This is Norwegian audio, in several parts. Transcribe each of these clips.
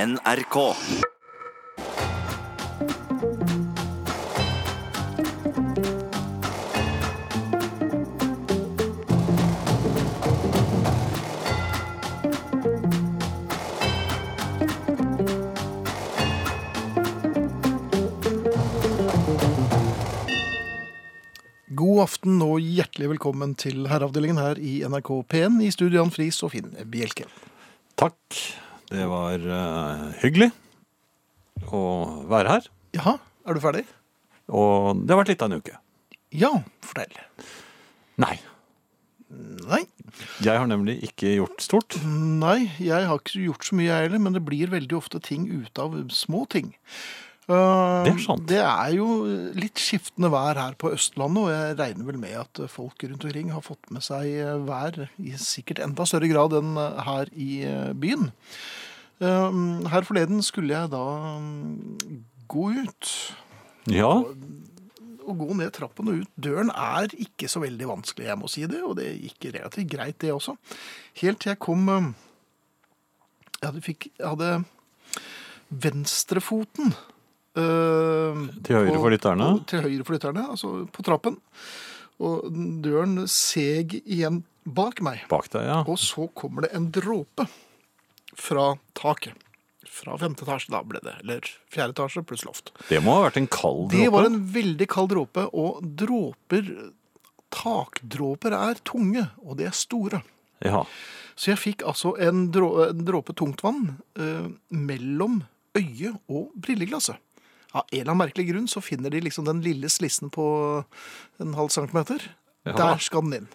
NRK. God aften og hjertelig velkommen til Herreavdelingen her i NRK P1 i studio Jan Friis og Finn Bjelke. Takk. Det var eh, hyggelig å være her. Jaha, er du ferdig? Og det har vært litt av en uke. Ja, fortell. Nei. Nei, Jeg har nemlig ikke gjort stort. nei, jeg har ikke gjort så mye jeg heller, men det blir veldig ofte ting ut av små ting. Eh, Det er sant. Det er jo litt skiftende vær her på Østlandet, og jeg regner vel med at folk rundt omkring har fått med seg eh, vær i sikkert enda større grad enn eh, her i eh, byen. Eh, Her forleden skulle jeg da mm, gå ut Ja. Å gå ned trappen og ut døren er ikke så veldig vanskelig, jeg må si det. Og det gikk relativt greit, det også. Helt til jeg kom eh, Jeg hadde, fikk, jeg hadde venstrefoten eh, Til høyre på- for lytterne. på- Til høyre for lytterne, altså på trappen. Og døren seg igjen bak meg. Bak deg, ja. Og så kommer det en dråpe fra taket. Fra femte etasje, da ble det. Eller fjerde etasje pluss loft. Det må ha vært en kald Det var dråpe. en veldig kald dråpe, og dråper Takdråper er tunge, og de er store. Ja. Så jeg fikk altså en drå- en dråpe tungtvann eh, mellom øyet og brilleglasset. Av en eller annen merkelig grunn så finner de liksom den lille slissen på en halv centimeter. Ja. Der skal den inn.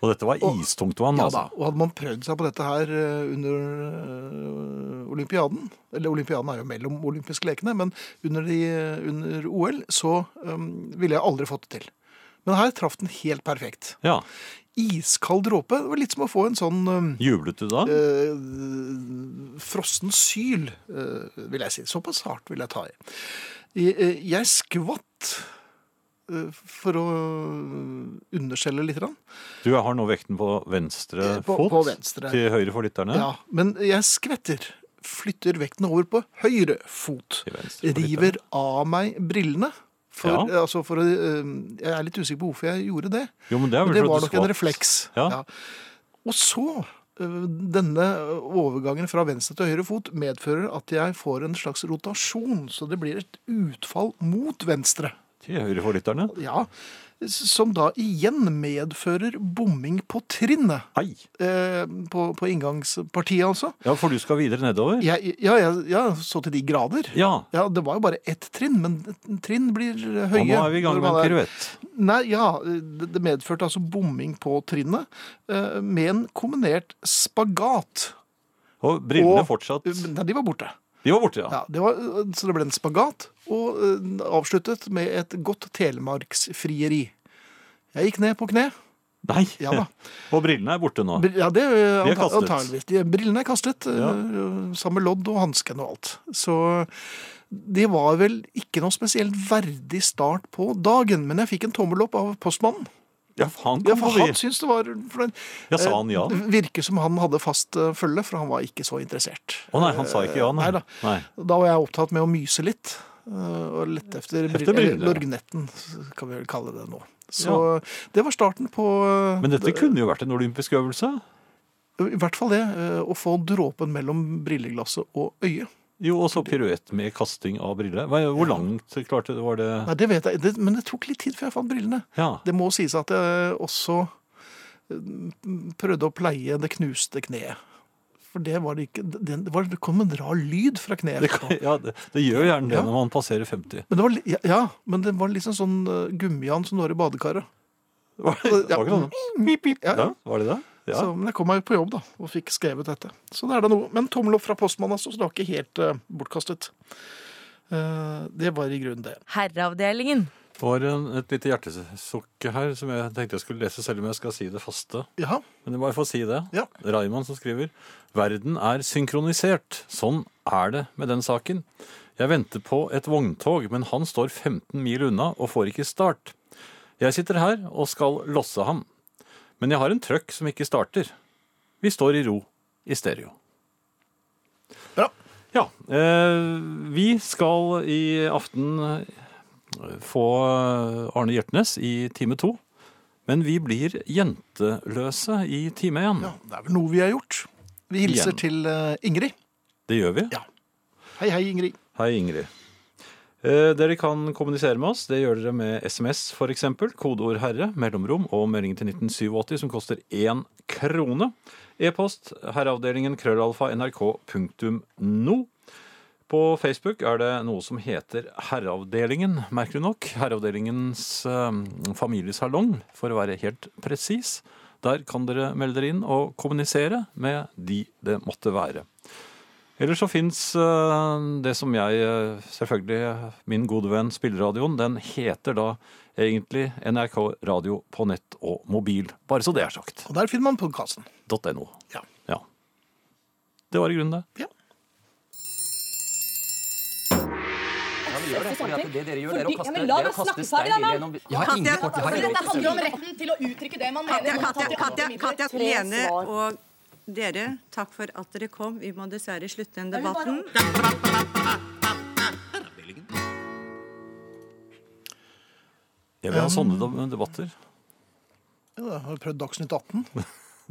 Og dette var istungt vann, Ja da, altså. Og hadde man prøvd seg på dette her eh, under eh, olympiaden Eller olympiaden er jo mellom olympiske lekene, men under, de, eh, under OL så eh, ville jeg aldri fått det til. Men her traff den helt perfekt. Ja. Iskald dråpe. Det var litt som å få en sånn eh, Jublet du da? eh, frossen syl, eh, vil jeg si. Såpass hardt vil jeg ta i. Jeg, eh, jeg skvatt eh, for å eh, underskjelle litt. Grann. Du har nå vekten på venstre Eh, på- fot. på venstre. Til høyre for lytterne. Ja, men jeg skvetter. Flytter vekten over på høyre fot. Til venstre for lytterne. River av meg brillene. For, Ja. altså for, å, eh, jeg er litt usikker på hvorfor jeg gjorde det. Jo, men det er Men vel det for var at du nok en skvatt. refleks. Ja. Og så eh, denne overgangen fra venstre til høyre fot medfører at jeg får en slags rotasjon, så det blir et utfall mot venstre. Til høyre for lytterne. Ja, Som da igjen medfører bomming på trinnet. Hei. Eh, på, på inngangspartiet, altså. Ja, for du skal videre nedover. Jeg, ja, ja, ja, så til de grader. Ja. Ja, det var jo bare ett trinn, men trinn blir høye. Og nå er vi i gang når med man en er- piruett. Nei, ja, det det medførte altså bomming på trinnet eh, med en kombinert spagat. Og brillene Og- fortsatt Nei, de var borte. De var borte, ja. Ja, det var, så det ble en spagat, og eh, avsluttet med et godt telemarksfrieri. Jeg gikk ned på kne. Nei. Ja da. Og brillene er borte nå. Br- Ja, det er De er anta kastet. antageligvis. De, brillene er kastet. Ja. eh, Samme lodd og hansken og alt. Så det var vel ikke noe spesielt verdig start på dagen. Men jeg fikk en tommel opp av postmannen. Ja, faen, Ja, kom for forbi. han syntes det var fornøyd. Ja, sa han ja? Eh, Virker som han hadde fast eh, følge, for han var ikke så interessert. Å nei, han sa ikke ja, nei. Nei da. Da var jeg opptatt med å myse litt. eh, Og lette efter, Efter brill- briller, eller ja. lorgnetten, kan vi vel kalle det nå. Så det var starten på eh, Men dette kunne jo vært en olympisk øvelse. I hvert fall det, eh, å få dråpen mellom brilleglasset og øyet. Jo, og så piruett med kasting av briller. Hva- Hvor langt klarte det? Var det Nei, det vet jeg, det, men det tok litt tid før jeg fant brillene. Ja. Det må sies at jeg også eh, prøvde å pleie det knuste kneet. For det var det ikke Det, det, var, det kom en rar lyd fra kneet. Det, kan- ja, det, det gjør gjerne det Ja. når man passerer 50. Men det var, li- ja, ja, men det var liksom sånn eh, gummian som du har i badekaret. Var det, var Ja. Mm, ikke sånn? Pip, pip. Ja, ja. Ja, var det det? Ja. Så, men jeg kom meg på jobb da, og fikk skrevet dette. Så det er da noe. Men tommel opp fra postmannen, altså, så det var ikke helt eh, bortkastet. Eh, det var i grunnen det. Herreavdelingen. Det var en, et lite hjertesukk her som jeg tenkte jeg skulle lese, selv om jeg skal si det faste. Jaha. Men jeg bare får si det. Ja. Raimond som skriver Verden er synkronisert. Sånn er det med den saken. Jeg venter på et vogntog, men han står 15 mil unna og får ikke start. Jeg sitter her og skal losse ham. Men jeg har en trøkk som ikke starter. Vi står i ro i stereo. Bra. Ja, eh, vi skal i aften eh, få eh, Arne Hjertnes i time to. Men vi blir jenteløse i time én. Ja, det er vel noe vi har gjort. Vi hilser Igjen. til eh, Ingrid. Det gjør vi. Ja. Hei, hei, Ingrid. Hei, Ingrid. Eh, Dere kan kommunisere med oss. Det gjør dere med SMS f.eks. Kodeord 'herre', mellomrom og melding til 1987 som koster én krone. E-post herreavdelingen krøllalfa nrk.no. På Facebook er det noe som heter Herreavdelingen, merkelig nok. Herreavdelingens eh, familiesalong, for å være helt presis. Der kan dere melde dere inn og kommunisere med de det måtte være. Eller så fins det som jeg eh, selvfølgelig, eh, min gode venn Spilleradioen, den heter da egentlig NRK Radio på nett og mobil. Bare så det er sagt. Og der finner man podkasten. .no. Ja. Ja. Det var i grunnen det. ja. Ja, vi gjør det, fordi at det dere gjør, det er å Fordi- kaste, ja, men det la er å meg kaste snakke stein ferdig, i da, gjennom Jeg har ingen kort, jeg har Altså, ingen dette kort. handler om retten til å uttrykke det man Katja, mener. Katja, Katja, Katja, Tre Lene svar. og dere, takk for at dere kom. Vi må dessverre slutte den vil bare debatten. Jeg vil ha sånne de- debatter. Ja, da har vi prøvd Dagsnytt 18.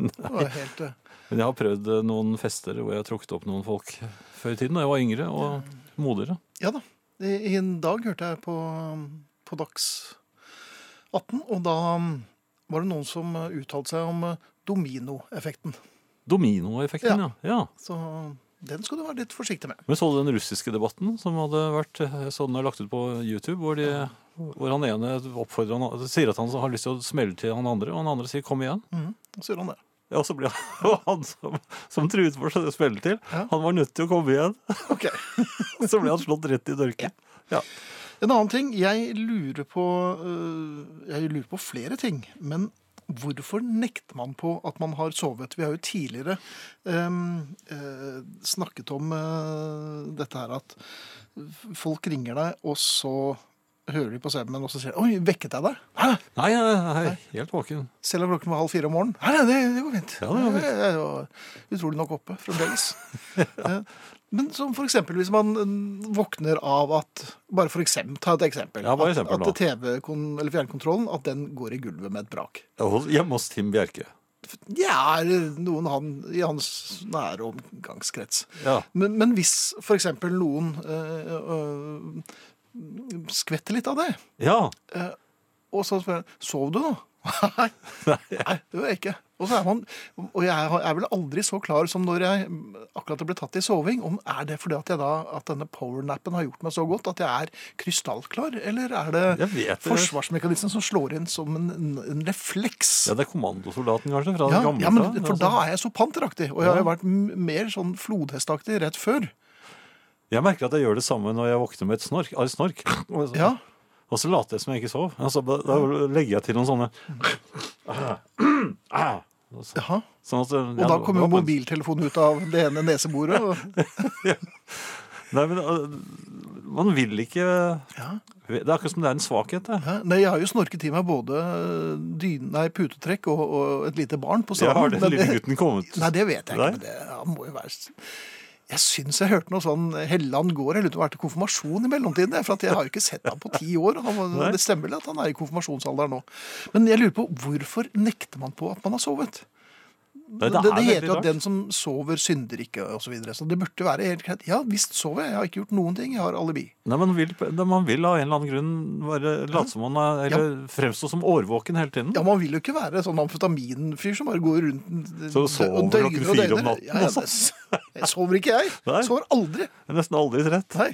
Det var helt... eh, Men jeg har prøvd eh, noen fester hvor jeg har trukket opp noen folk før i tiden. Da jeg var yngre og modigere. Ja da. I, i en dag hørte jeg på, på Dags 18, og da um, var det noen som uh, uttalte seg om uh, dominoeffekten. Dominoeffekten, ja. ja. Så eh, den skal du være litt forsiktig med. Men så du den russiske debatten som hadde vært eh, jeg så den er lagt ut på YouTube, hvor, de, hvor han ene oppfordrer han, altså sier at han har lyst til å smelle til han andre, og han andre sier 'kom igjen'. Mhm, så gjør han det. Ja, så blir han, han som, som truet for å smelle til, Ja. han var nødt til å komme igjen. Ok. Så ble han slått rett i dørken. Ja. En annen ting. Jeg lurer på øh, Jeg lurer på flere ting. Men hvorfor nekter man på at man har sovet? Vi har jo tidligere øhm, øh, snakket om øh, dette her at folk ringer deg, og så hører de på cv og så sier de 'Oi, vekket jeg deg?' Hæ? Nei, nei, nei, helt våken. Selv om klokken var halv fire om morgenen. Nei, nei, det, det går fint. Ja, det går fint. Jeg- Jeg var utrolig nok oppe fremdeles. Eh, Men som for eksempel hvis man eh, våkner av at Bare for eksempel, ta et eksempel. Ja, bare eksempel at nå. at TV-kon- eller fjernkontrollen at den går i gulvet med et brak. Hos- Hjemme hos Tim Bjerke. Ja, eller noen han, i hans nære omgangskrets. Ja. Men, men hvis for eksempel noen eh, eh, skvetter litt av det, ja. Og så spør jeg Sov du nå? Nei, nei, det gjør jeg ikke. Og, så er man, og jeg har- er vel aldri så klar som når jeg akkurat ble tatt i soving. Om er det fordi at, jeg da, at denne powernappen har gjort meg så godt at jeg er krystallklar, eller er Jeg det vet det. forsvarsmekanismen som slår inn som en, en refleks? ja, det er kommandosoldaten, kanskje, fra Ja, den gamle ja, men tiden, for altså. da er jeg så panteraktig. Og jeg har Ja. jo vært m- mer sånn flodhestaktig rett før. Jeg merker at jeg gjør det samme når jeg våkner med et snork. Av et snork. Og så- Ja, Og så later jeg som jeg ikke sov. Altså, da, da legger jeg til noen sånne Ah. Og så- jaha. Sånn at, Og da kommer jo mobiltelefonen ut av det ene neseboret. Og, Nei, men uh, man vil ikke ja. Det er akkurat som det er en svakhet. Det. Hæ? Nei, jeg har jo snorket i meg både eh, dyne, nei, putetrekk og, og et lite barn på Jeg stranden. har den men- lille gutten kommet. Nei, det vet jeg Nei? ikke, men det ja, må jo være... s- Jeg synes jeg hørte noe sånn Helland går, eller det var til konfirmasjon i mellomtiden, jeg, for at jeg har jo ikke sett ham på ti år, og han, var- Nei. det stemmer vel at han er i konfirmasjonsalder nå. Men jeg lurer på, hvorfor nekter man på at man har sovet? Nei, Det, det, er heter veldig jo at rart. den som sover synder ikke, og så videre. Så det burde jo være helt greit. Ja, visst sover jeg, jeg har ikke gjort noen ting, jeg har alibi. Nei, man, vil, nei, man vil av en eller annen grunn bare late som man er Eller fremstå som årvåken hele tiden. Ja, man vil jo ikke være sånn amfetaminfyr som bare går rundt Så sover og døgner klokken og fire om døgner. natten, Ja, ja, altså. det- jeg sover ikke, jeg. Nei. Sover aldri. Det er nesten aldri rett. Nei,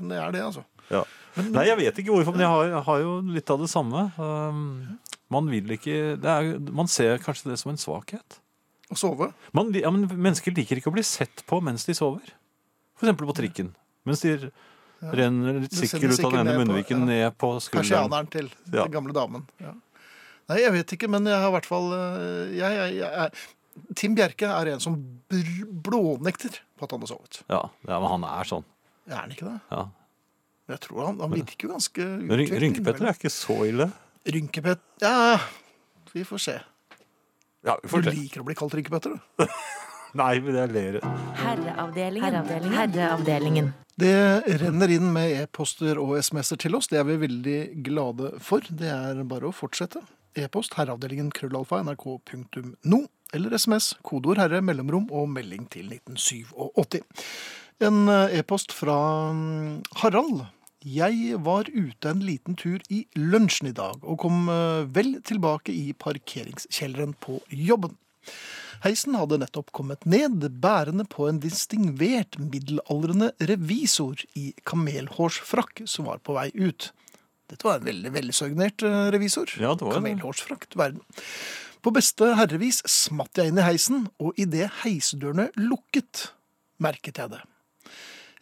men det er det, altså. Ja. Nei, jeg vet ikke hvorfor, men jeg har, jeg har jo litt av det samme. Um, man vil ikke det er, Man ser kanskje det som en svakhet. Å sove. Man, ja, men mennesker liker ikke å bli sett på mens de sover. For eksempel på trikken. Mens de renner litt Det sender sikker ut av sikkert den ene ned på- munnviken ja. ned på skulderen. Persianeren til Ja. den gamle damen. Ja. Nei, jeg vet ikke, men jeg har i hvert fall øh, jeg, jeg, jeg, er- Tim Bjerke er en som br blånekter på at han har sovet. Ja, ja, men han er sånn. Er han ikke det? Ja. Jeg tror han, han virker jo ganske Ryn- utviklet Rynkepetter er ikke så ille. innimellom. Rynkepet... Ja, vi får se. Ja, vi Du får se. liker å bli kalt rynkepetter, du. Nei, men jeg ler. Herreavdelingen. Herreavdelingen. Det renner inn med e-poster og SMS-er til oss. Det er vi veldig glade for. Det er bare å fortsette. E-post herreavdelingen krøllalfa nrk.no eller SMS kodeord herre mellomrom og melding til 1987. En eh, e-post fra mm, Harald. Jeg var ute en liten tur i lunsjen i dag, og kom eh, vel tilbake i parkeringskjelleren på jobben. Heisen hadde nettopp kommet ned, bærende på en distingvert middelaldrende revisor i kamelhårsfrakk som var på vei ut. Dette var en veldig velsøgnert eh, revisor. Ja, det var det. Kamelhårsfrakk, du verden. På beste herrevis smatt jeg inn i heisen, og idet heisdørene lukket, merket jeg det.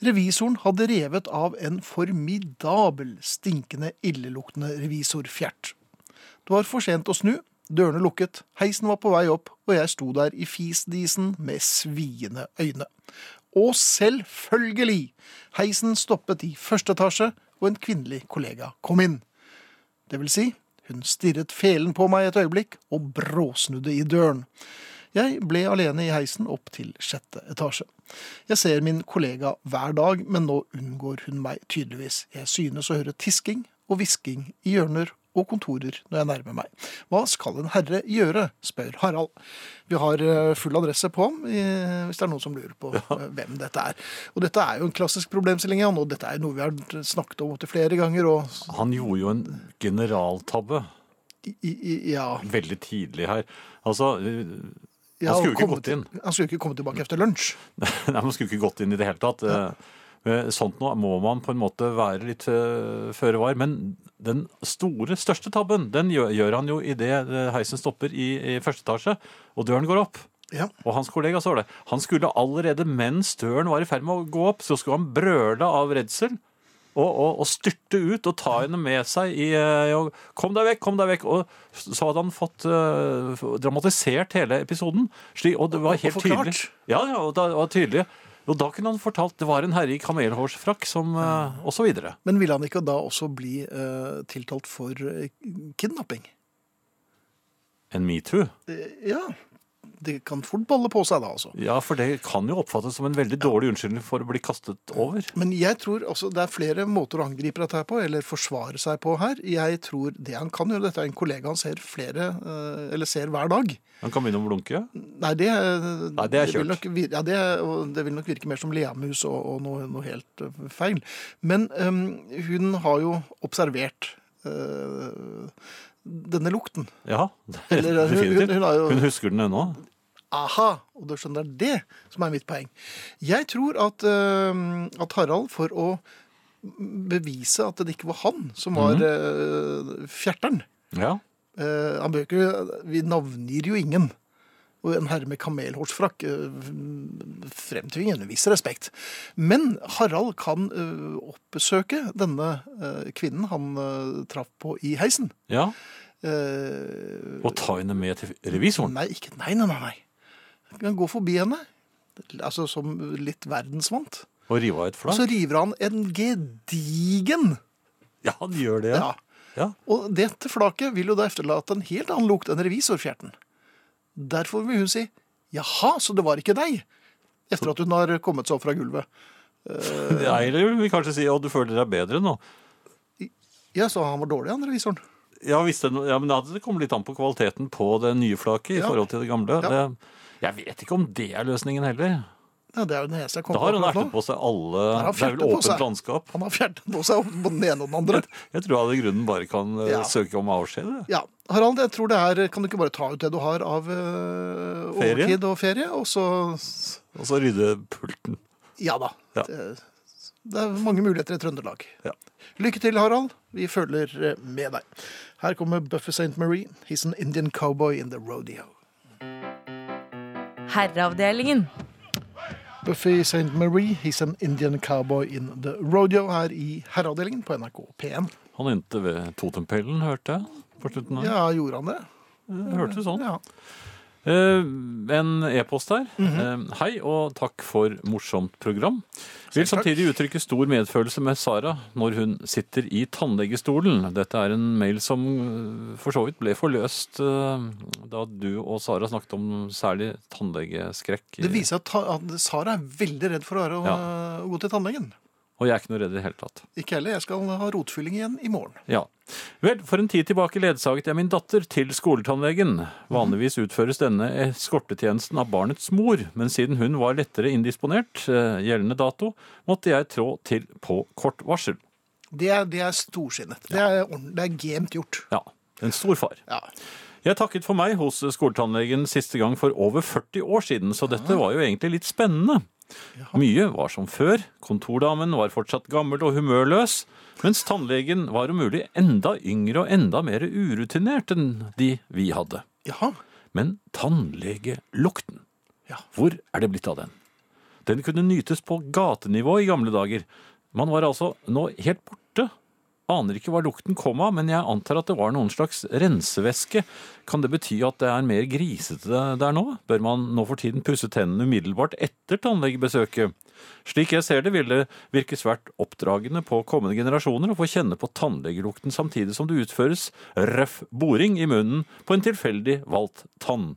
Revisoren hadde revet av en formidabel, stinkende, illeluktende revisorfjert. Det var for sent å snu. Dørene lukket, heisen var på vei opp, og jeg sto der i fisdisen med sviende øyne. Og selvfølgelig! Heisen stoppet i første etasje, og en kvinnelig kollega kom inn. Det vil si, hun stirret felen på meg et øyeblikk og bråsnudde i døren. Jeg ble alene i heisen opp til sjette etasje. Jeg ser min kollega hver dag, men nå unngår hun meg tydeligvis. Jeg synes å høre tisking og hvisking i hjørner og kontorer når jeg nærmer meg. Hva skal en herre gjøre, spør Harald. Vi har eh, full adresse på ham, eh, hvis det er noen som lurer på eh, hvem dette er. Og dette er jo en klassisk problemstilling, Jan, og dette er jo noe vi har snakket om opptil flere ganger. og Han gjorde jo en generaltabbe i, i, ja. veldig tidlig her. Altså, Ja, Han og skulle jo ikke komme gått til- inn. Han skulle jo ikke komme tilbake etter lunsj. Nei, Man skulle ikke gått inn i det hele tatt. Eh, Sånt nå må man på en måte være litt eh, føre var. Men den store, største tabben den gjør, gjør han jo idet heisen stopper i, i første etasje og døren går opp. Ja. Og hans kollega så det. Han skulle allerede mens døren var i ferd med å gå opp, så skulle han brøle av redsel. Og, og, og styrte ut og ta henne med seg i eh, og, Kom deg vekk, kom deg vekk! Og så hadde han fått eh, dramatisert hele episoden. Slik, og det var helt og forklart. tydelig. Ja, ja, og da, og tydelig. Og da kunne han fortalt det var en herre i kamelhårsfrakk som eh, Og så videre. Men ville han ikke da også bli eh, tiltalt for eh, kidnapping? En metoo. Eh, ja. Det kan fort balle på seg da, altså. Ja, for det kan jo oppfattes som en veldig dårlig unnskyldning for å bli kastet over. Men jeg tror altså, det er flere måter å angripe dette her på, eller forsvare seg på her. Jeg tror det han kan gjøre, dette er en kollega han ser flere, eh, eller ser hver dag. Han kan begynne å blunke. Nei, det, Nei, det er vil kjørt. nok vir- ja, det, og det vil nok virke mer som leamus og, og noe, noe helt eh, feil. Men eh, hun har jo observert eh, denne lukten. Ja, Eller, hun- definitivt. hun- hun har jo- Hun husker den ennå. Aha! Og du skjønner det er det som er mitt poeng. Jeg tror at, eh, at Harald, for å bevise at det ikke var han som Mhm. var eh, fjerteren Ja. eh, han bør ikke, Vi navngir jo ingen. Og en herre med kamelhårsfrakk eh, fremtvinger en viss respekt. Men Harald kan eh, oppsøke denne eh, kvinnen han eh, traff på i heisen. ja. Eh, Og ta henne med til revisoren. Nei, ikke, nei, nei, nei, nei. Han kan gå forbi henne. Altså som litt verdensvant. Og rive av et Og så flagg. river han en gedigen Ja, han gjør det, ja. ja. Ja. Og dette flaket vil jo da efterlate en helt annen lukt enn revisorfjerten. Derfor vil hun si 'jaha, så det var ikke deg', etter at hun har kommet seg opp fra gulvet. Nei, Eller vil vi kanskje si at du føler deg bedre nå. Ja, så han var dårlig, han revisoren. Ja, hvis det, ja, men Det kommer litt an på kvaliteten på det nye flaket i Ja. forhold til det gamle. Ja. Det, jeg vet ikke om det er løsningen heller. Ja, det er jo den eneste jeg kom Da har på. han akkurat nå. ertet på seg alle har han Det er vel fjertet på åpent seg. landskap. Han har fjertet på seg både den ene og den andre. Jeg tror han i grunnen bare kan eh, Ja. søke om avskjed. jeg. Ja, Harald, jeg tror det er Kan du ikke bare ta ut det du har av øh, Ferie? overtid og ferie, og så Og så rydde pulten. Ja da. Ja. Det, det er mange muligheter i Trøndelag. Ja. Lykke til, Harald. Vi følger eh, med deg. Her kommer Buffy St. Marie. He's an Indian cowboy in the rodeo. Herreavdelingen. Buffy St. Marie, he's an Indian cowboy in the rodeo her i herreavdelingen på NRK P1. Han endte ved totempælen, hørte jeg. På slutten. her. Ja, gjorde han det? Det hørtes sånn. Ja. Eh, en e-post her. Eh, hei og takk for morsomt program. Vil samtidig uttrykke stor medfølelse med Sara når hun sitter i tannlegestolen. Dette er en mail som eh, for så vidt ble forløst eh, da du og Sara snakket om særlig tannlegeskrekk. i- Det viser at, ta- at Sara er veldig redd for å være å, å gå til tannlegen. Og jeg er ikke noe redd i det hele tatt. Ikke heller. Jeg skal ha rotfylling igjen i morgen. Ja. Vel, for en tid tilbake ledsaget jeg min datter til skoletannlegen. Vanligvis utføres denne eskortetjenesten av barnets mor, men siden hun var lettere indisponert, eh, gjeldende dato, måtte jeg trå til på kort varsel. Det er, det er storsinnet. Det, er, ordent- det er gemt gjort. Ja, en stor far. Ja. Jeg takket for meg hos skoletannlegen siste gang for over 40 år siden, så dette var jo egentlig litt spennende. Mye var som før. Kontordamen var fortsatt gammel og humørløs, mens tannlegen var om mulig enda yngre og enda mer urutinert enn de vi hadde. Jaha. Men tannlegelukten, Ja. hvor er det blitt av den? Den kunne nytes på gatenivå i gamle dager. Man var altså nå helt borte. Aner ikke hva lukten kom av, men jeg antar at det var noen slags rensevæske. Kan det bety at det er mer grisete der nå? Bør man nå for tiden pusse tennene umiddelbart etter tannlegebesøket? Slik jeg ser det, vil det virke svært oppdragende på kommende generasjoner å få kjenne på tannlegelukten samtidig som det utføres røff boring i munnen på en tilfeldig valgt tann.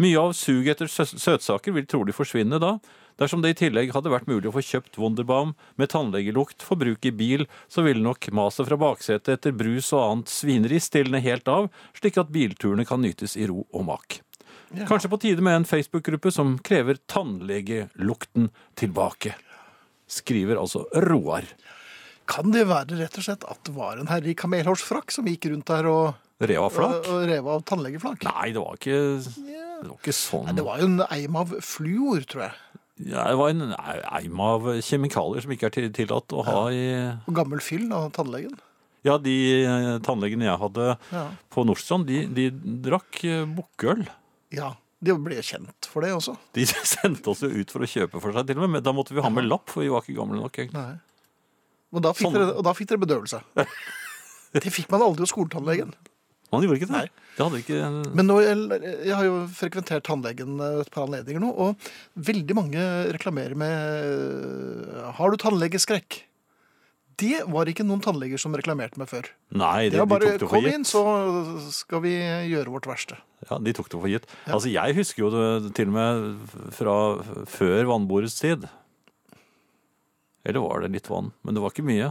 Mye av suget etter sø søtsaker vil trolig forsvinne da, dersom det i tillegg hadde vært mulig å få kjøpt Wunderbaum med tannlegelukt for bruk i bil, så ville nok maset fra baksetet etter brus og annet svineri stilne helt av, slik at bilturene kan nytes i ro og mak. Kanskje på tide med en Facebook-gruppe som krever tannlegelukten tilbake. Skriver altså Roar. Kan det være rett og slett at det var en herre i kamelhårsfrakk som gikk rundt der og, Reva og, flak? og rev av tannlegeflak? Nei, det var ikke, det var ikke sånn. øh. Det var jo en eim av fluor, tror jeg. Ja, det var en eim av kjemikalier som ikke er til- tillatt å ha i Og gammel fyll av tannlegen. Ja, de eh, tannlegene jeg hadde Ja. på Nordstrand, de, de drakk eh, bukkøl. ja. De ble kjent for det også. De sendte oss jo ut for å kjøpe for seg, til og med. Men da måtte vi ha med lapp, for vi var ikke gamle nok. egentlig. Nei. Og da fikk, Sånn. dere, og da fikk dere bedøvelse. Det fikk man aldri hos skoletannlegen. Man gjorde ikke det. Det hadde ikke Men nå, jeg, jeg har jo frekventert tannlegen et par anledninger nå, og veldig mange reklamerer med eh, 'Har du tannlegeskrekk?' Det var ikke noen tannleger som reklamerte med før. Nei, Det det, var bare de tok det for 'Kom gitt. inn, så skal vi gjøre vårt verste'. Ja, de tok det for gitt. Altså, jeg husker jo det til og med fra før vannborets tid. Eller var det litt vann? Men det var ikke mye.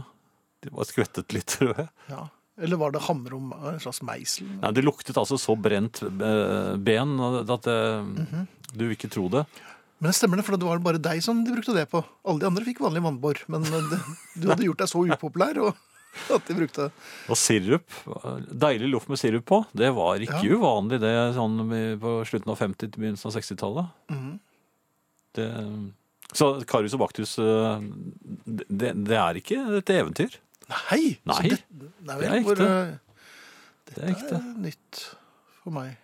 Det var skvettet litt, tror jeg. Ja. Eller var det hamrom, en slags meisel? Nei, det luktet altså så brent eh, ben at eh, Mhm. du vil ikke tro det. Men det stemmer det, for det var bare deg som de brukte det på. Alle de andre fikk vanlig vannbor, men eh, det, du hadde gjort deg så upopulær og, at de brukte Og sirup, deilig loff med sirup på, det var ikke uvanlig det sånn i- på slutten av 50- til begynnelsen av 60-tallet. Det- Så Karius og Baktus, eh, det, det er ikke et eventyr. Nei! Nei, så det, nei vel, det er hvor, ekte. eh, Det er Det ekte. er nytt for meg.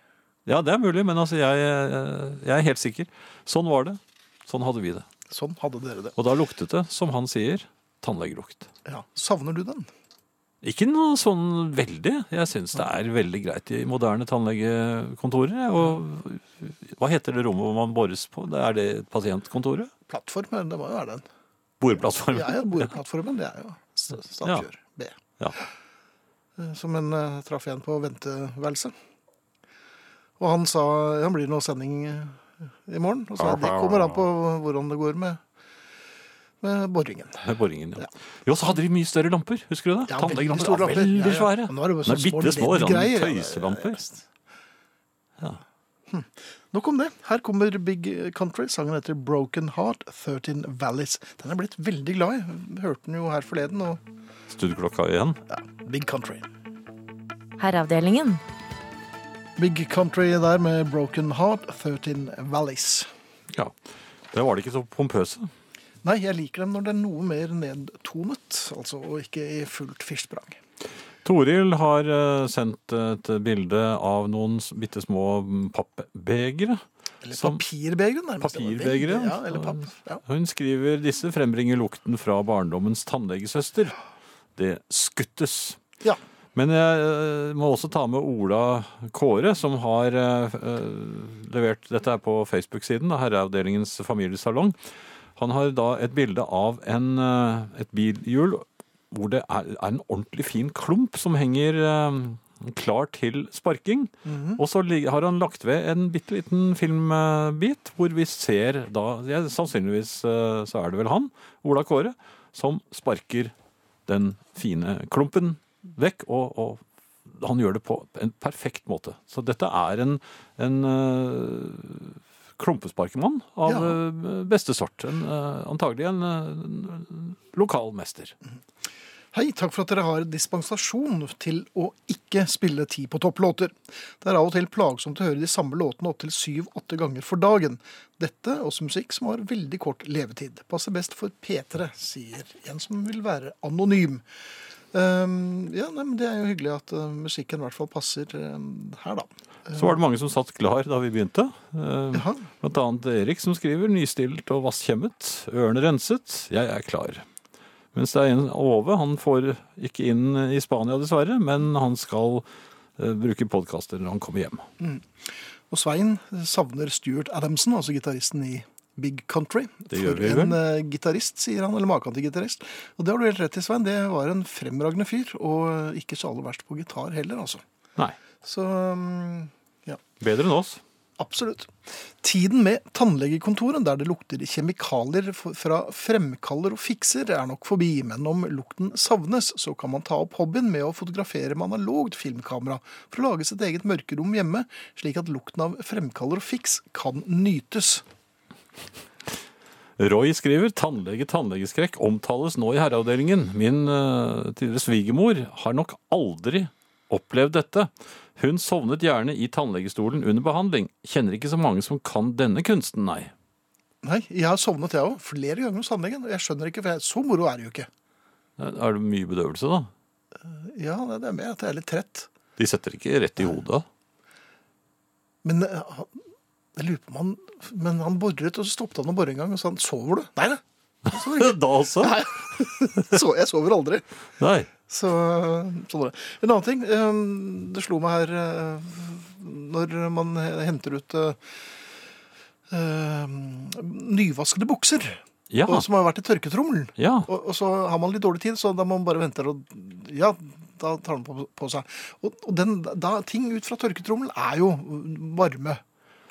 Ja, det er mulig, men altså, jeg, eh, jeg er helt sikker. Sånn var det. Sånn hadde vi det. Sånn hadde dere det. Og da luktet det, som han sier, tannlegelukt. Ja. Savner du den? Ikke noe sånn veldig. Jeg syns det er veldig greit i moderne tannlegekontorer. jeg. Og hva heter det rommet hvor man bores på? Det Er det pasientkontoret? Plattformen, det må jo være den. Bordplattformen? Ja, ja, Bordplattformen, det er jo st- stavkjør B. Ja. Eh, Som en eh, traff en på venteværelset. Og han sa han blir det noe sending eh, i morgen. Og så det kommer an på hvordan det går med, med boringen. Med boringen, ja. Jo, så hadde de mye større lamper, husker du det? Ja, veldig store Tannlegelamper, ja, lamper. Ja, Veldig ja. svære. Og nå er det bare Nei, sånne små bitte små LED-greier. tøyselamper. Hm. Nok om det. Her kommer Big Country. Sangen heter Broken Heart, 13 Valleys. Den er jeg blitt veldig glad i. Hørte den jo her forleden. Og Studioklokka igjen. ja, Big Country. Herreavdelingen. Big Country der med Broken Heart, 13 Valleys. Ja. Der var de ikke så pompøse. Nei, jeg liker dem når det er noe mer nedtonet, altså og ikke i fullt firsprang. Toril har eh, sendt et bilde av noen bitte små pappbegre. Eller Som- papirbegeren, nærmest. Det var veldig- Papirbegeret, Ja, eller papp. Ja. Hun skriver disse frembringer lukten fra barndommens tannlegesøster. Det skuttes. ja. Men jeg eh, må også ta med Ola Kåre, som har eh, eh, levert Dette er på Facebook-siden, da, Herreavdelingens familiesalong. Han har da et bilde av en, eh, et bilhjul hvor det er, er en ordentlig fin klump som henger eh, klar til sparking. Og så lig- har han lagt ved en bitte liten filmbit hvor vi ser da ja, Sannsynligvis eh, så er det vel han, Ola Kåre, som sparker den fine klumpen vekk. Og, og han gjør det på en perfekt måte. Så dette er en, en eh, klumpesparkemann av eh, beste sort. En, eh, antagelig en, eh, en lokal mester. Hei, takk for at dere har dispensasjon til å ikke spille ti på topplåter. Det er av og til plagsomt å høre de samme låtene opptil syv-åtte ganger for dagen. Dette også musikk som har veldig kort levetid. Passer best for P3, sier en som vil være anonym. Ehm, ja, nei, men Det er jo hyggelig at eh, musikken i hvert fall passer eh, her, da. Så var det mange som satt klar da vi begynte. Eh, Jaha. Blant annet Erik som skriver nystilt og vasskjemmet. Ørene renset. Jeg er klar. Mens det er en Ove. Han får ikke inn i Spania, dessverre, men han skal eh, bruke podkaster når han kommer hjem. Og Svein savner Stuart Adamson, altså gitaristen i Big Country. Det gjør For vi vel? En eh, gitarist, sier han, eller maken til gitarist. Og det har du helt rett i, Svein. Det var en fremragende fyr, og ikke så aller verst på gitar heller, altså. Nei. Så mm, ja. Bedre enn oss. Absolutt. Tiden med tannlegekontoret, der det lukter kjemikalier f- fra fremkaller og fikser, er nok forbi, men om lukten savnes, så kan man ta opp hobbyen med å fotografere med analogt filmkamera for å lage sitt eget mørkerom hjemme, slik at lukten av fremkaller og fiks kan nytes. Roy skriver tannlege, tannlegeskrekk omtales nå i herreavdelingen. Min eh, tidligere svigermor har nok aldri opplevd dette. Hun sovnet gjerne i tannlegestolen under behandling. Kjenner ikke så mange som kan denne kunsten, nei. Nei, jeg har sovnet jeg òg, flere ganger hos tannlegen. Og jeg skjønner ikke, for jeg, så moro er det jo ikke. Eh, Er det mye bedøvelse, da? Ja, det er med at jeg er litt trett. De setter ikke rett i hodet. Men eh, han- jeg lurer på om han Men han boret, og så stoppet han å bore en gang og sa han, 'Sover du?' Nei, nei. jeg sover ikke. Da også? Så, jeg sover aldri. Nei. Så, sånn var det. En annen ting eh, det slo meg her eh, Når man he- henter ut eh, eh, nyvaskede bukser, Ja. og, som har vært i tørketrommelen. ja. Og, og så har man litt dårlig tid, så da må man bare vente og Ja, da tar den på, på seg. Og, og den, da, ting ut fra tørketrommelen er jo varme.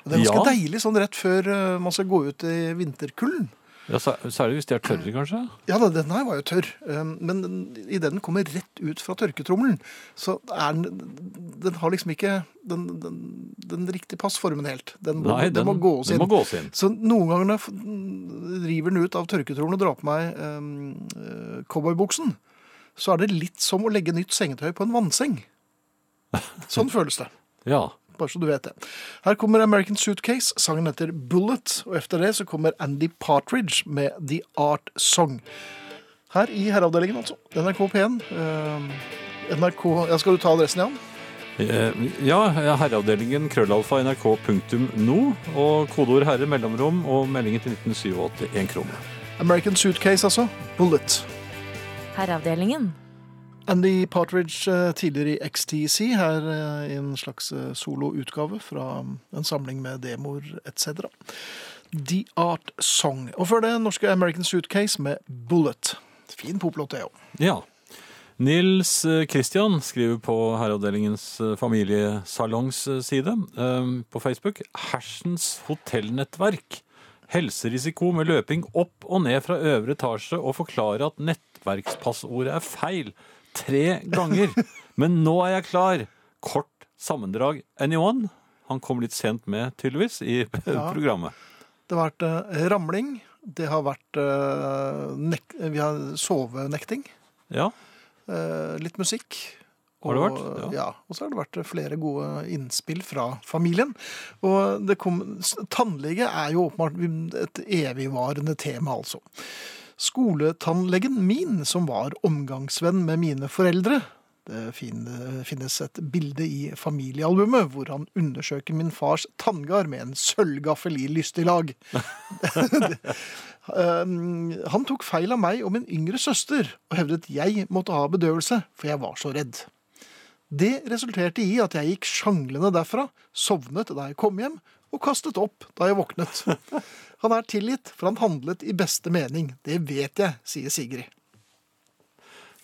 Og det er ganske Ja. deilig sånn rett før eh, man skal gå ut i vinterkulden. ja sær- Særlig hvis de er tørre, kanskje? Ja, da, den her var jo tørr, eh, men den- i det den kommer rett ut fra tørketrommelen, så er den Den har liksom ikke den, den, den riktig passformen helt. Den, må- Nei, den, må gås den inn. må gås inn. Så noen ganger når jeg f- river den ut av tørketrommelen og drar på meg eh, eh, cowboybuksen, så er det litt som å legge nytt sengetøy på en vannseng. Sånn føles det. Ja. Bare så du vet det. Her kommer American Suitcase. Sangen heter Bullet. Og etter det så kommer Andy Partridge med The Art Song. Her i herreavdelingen, altså. NRK P1. eh, NRK ja, Skal du ta adressen, Jan? Eh, Ja, herreavdelingen krøllalfa nrk.no og kodeord herre mellomrom og meldingen til 1987 én krone. American Suitcase, altså. Bullet. Herreavdelingen. Andy Partridge, eh, tidligere i XTC, her eh, i en slags eh, soloutgave fra en samling med demoer etc. The Art Song. Og før det norske American Suitcase med Bullet. Fin poplåt, det òg. Ja. Nils eh, Christian skriver på Herreavdelingens eh, familiesalongs eh, side eh, på Facebook Hersens hotellnettverk. Helserisiko med løping opp og ned fra øvre etasje og forklare at nettverkspassordet er feil tre ganger. Men nå er jeg klar. Kort sammendrag. Anyone? Han kom litt sent med, tydeligvis, i programmet. Det har vært eh, ramling. Det har vært eh, nek Vi har sovenekting. Ja. eh, litt musikk. Har det vært? Og, Ja. ja. Og så har det vært flere gode innspill fra familien. Og det kom s- Tannlege er jo åpenbart et evigvarende tema, altså. Skoletannlegen min, som var omgangsvenn med mine foreldre Det fin- finnes et bilde i familiealbumet hvor han undersøker min fars tanngard med en sølvgaffel i lystig lag. Um, han tok feil av meg og min yngre søster og hevdet jeg måtte ha bedøvelse, for jeg var så redd. Det resulterte i at jeg gikk sjanglende derfra, sovnet da jeg kom hjem, og kastet opp da jeg våknet. Han er tilgitt, for han handlet i beste mening. Det vet jeg, sier Sigrid.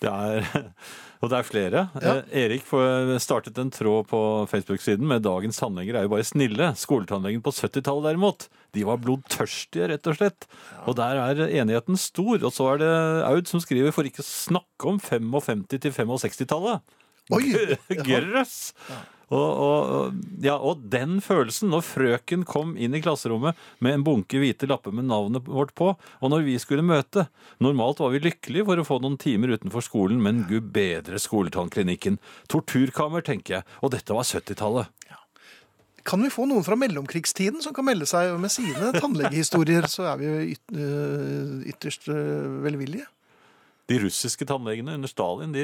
Det er, og det er flere. Ja. Eh, Erik får- startet en tråd på Facebook-siden med 'Dagens tannleger er jo bare snille'. Skoletannlegen på 70-tallet derimot, de var blodtørstige, rett og slett. Og der er enigheten stor. Og så er det Aud som skriver 'For ikke å snakke om 55- til 65-tallet'. Oi! Grøss! Og, og, og- ja, og den følelsen når frøken kom inn i klasserommet med en bunke hvite lapper med navnet vårt på, og når vi skulle møte. Normalt var vi lykkelige for å få noen timer utenfor skolen, men gud bedre skoletannklinikken. Torturkammer, tenker jeg. Og dette var 70-tallet. Kan vi få noen fra mellomkrigstiden som kan melde seg med sine tannlegehistorier, så er vi jo yt, øh, ytterst øh, velvillige. De russiske tannlegene under Stalin, de,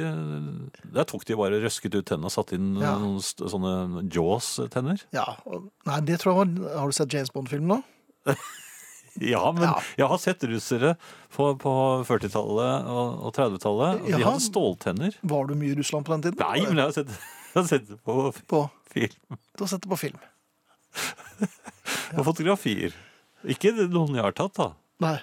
der tok de bare røsket ut tennene og satte inn Ja. noen st- sånne Jaws-tenner. Ja, og, nei, det tror jeg var Har du sett James Bond-filmen nå? Ja, men Ja. jeg har sett russere på, på 40-tallet og, og 30-tallet. og De Ja. hadde ståltenner. Var du mye i Russland på den tiden? Nei, men jeg har sett, jeg har sett det på På, film du har sett det på film? og fotografier. Ikke noen jeg har tatt, da. Nei.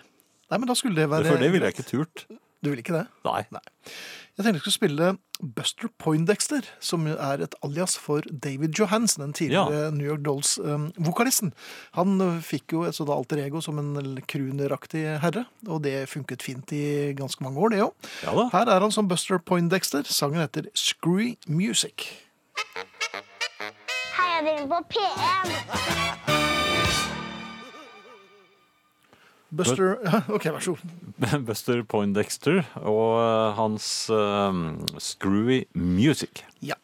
Nei, men da skulle det være For det ville jeg ikke turt. Du vil ikke det? Nei. Jeg tenkte jeg skulle spille Buster Poindexter, som jo er et alias for David Johansen, den tidligere New York Dolls-vokalisten. Han eh, fikk jo et sånt alter ego som en l- crooneraktig herre, og det funket fint i ganske mange år, det òg. Ja da. Her er han som Buster Poindexter. Sangen heter Screwy Music. Hei, jeg driver på P1. Buster Ja, OK, vær så god. Buster Poindexter og eh, hans eh, Screwy Music. Ja.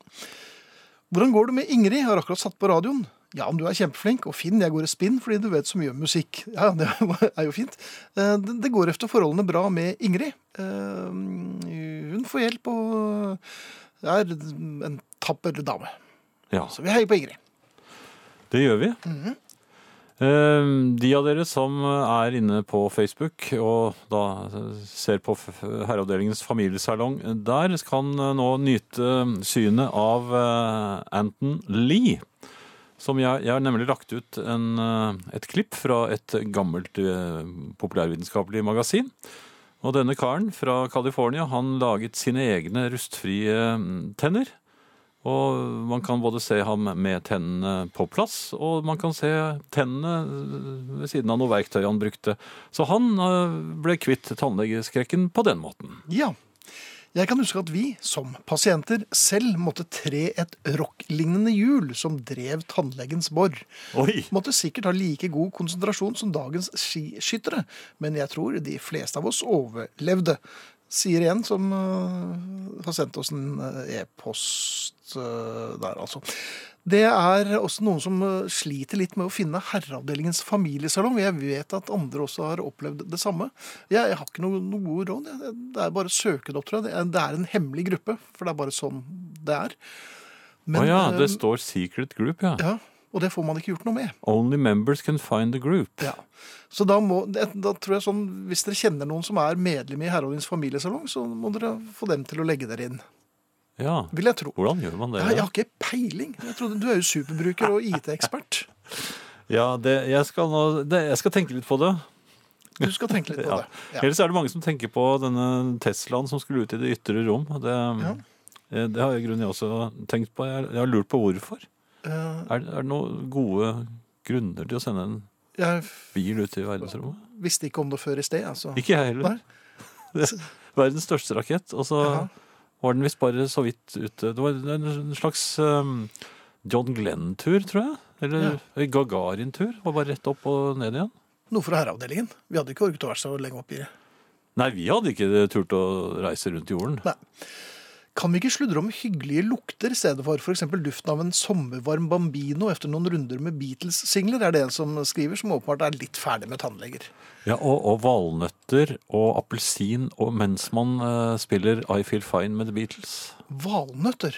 Hvordan går det med Ingrid? Jeg har akkurat satt på radioen. Ja, men du er kjempeflink. Og Finn, jeg går i spinn fordi du vet så mye om musikk. Ja, det er jo fint. Eh, Det det går efter forholdene bra med Ingrid. Eh, Hun får hjelp og er en tapper dame. Ja, Så vi heier på Ingrid. det gjør vi. Eh, De av dere som er inne på Facebook og da ser på f- Herreavdelingens familiesalong der, kan nå nyte synet av eh, Anton Lee. Som jeg, jeg har nemlig lagt ut en, eh, et klipp fra et gammelt eh, populærvitenskapelig magasin. Og denne karen fra California, han laget sine egne rustfrie eh, tenner. Og man kan både se ham med tennene på plass, og man kan se tennene eh, ved siden av noe verktøy han brukte. Så han eh, ble kvitt tannlegeskrekken på den måten. Ja. Jeg kan huske at vi, som pasienter, selv måtte tre et rocklignende hjul som drev tannlegens bor. Oi! måtte sikkert ha like god konsentrasjon som dagens skiskyttere, men jeg tror de fleste av oss overlevde. Sier en som øh, har sendt oss en øh, e-post øh, der, altså. Det er også noen som øh, sliter litt med å finne Herreavdelingens familiesalong. Jeg vet at andre også har opplevd det samme. Jeg, jeg har ikke noe, noe gode råd. jeg. Det er bare å søke det opp, tror jeg. Det er, det er en hemmelig gruppe, for det er bare sånn det er. Å ja, det øh, står secret group, ja. ja, og det får man ikke gjort noe med. Only members can find the group. Ja. Så da, må, da tror jeg sånn, hvis dere kjenner noen som er medlem i Herreavdelingens familiesalong, så må dere få dem til å legge dere inn. Ja. Vil jeg tro. Hvordan gjør man det? Ja, jeg har ikke peiling. Jeg trodde, du er jo superbruker og IT-ekspert. Ja, det, jeg, skal nå, det, jeg skal tenke litt på det. Du skal tenke litt på Ja. det. Ja. Ellers er det mange som tenker på denne Teslaen som skulle ut i det ytre rom. og Det, eh, det har jeg i grunnen jeg også tenkt på. Jeg, jeg har lurt på hvorfor. Eh, Er, er det noen gode grunner til å sende en Jeg bil ut i verdensrommet? visste ikke om det før i sted, altså. Ikke jeg heller. Det- Verdens største rakett. Og så Ja. var den visst bare så vidt ute. Det var en slags um, John Glenn-tur, tror jeg. Eller Gagarin-tur. Var bare rett opp og ned igjen. Noe fra Herreavdelingen. Vi hadde ikke orket å være så lenge oppi det. Nei, vi hadde ikke turt å reise rundt jorden. Nei. Kan vi ikke sludre om hyggelige lukter i stedet for f.eks. duften av en sommervarm bambino etter noen runder med Beatles-singler, er det en som skriver, som åpenbart er litt ferdig med tannleger. Ja, og, og valnøtter og appelsin og mens man eh, spiller I Feel Fine med The Beatles. Valnøtter.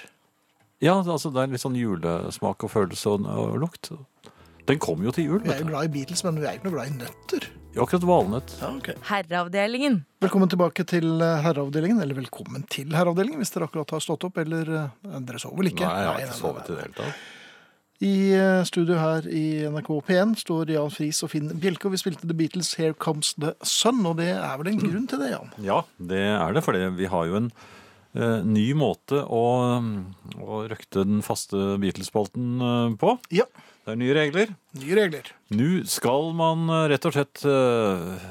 Ja, altså det er litt sånn julesmak og følelse og, og lukt. Den kom jo til jul. Vi er vet jo du. glad i Beatles, men vi er jo ikke noe glad i nøtter. Jo, akkurat valnøtt. Ja, ok. Herreavdelingen. Velkommen tilbake til eh, herreavdelingen, eller velkommen til herreavdelingen hvis dere akkurat har stått opp, eller eh, dere sover vel ikke? Nei, jeg har nei, ikke nei, sovet i nei. det hele tatt. I eh, studio her i NRK P1 står Jan Friis og Finn Bjelke, og vi spilte The Beatles' Here Comes The Sun, og det er vel en Mm. grunn til det, Jan? Ja, det er det, for vi har jo en eh, ny måte å, mm, å røkte den faste Beatles-spalten eh, på. Ja, Det er nye regler. nye regler. Nå skal man eh, rett og slett eh,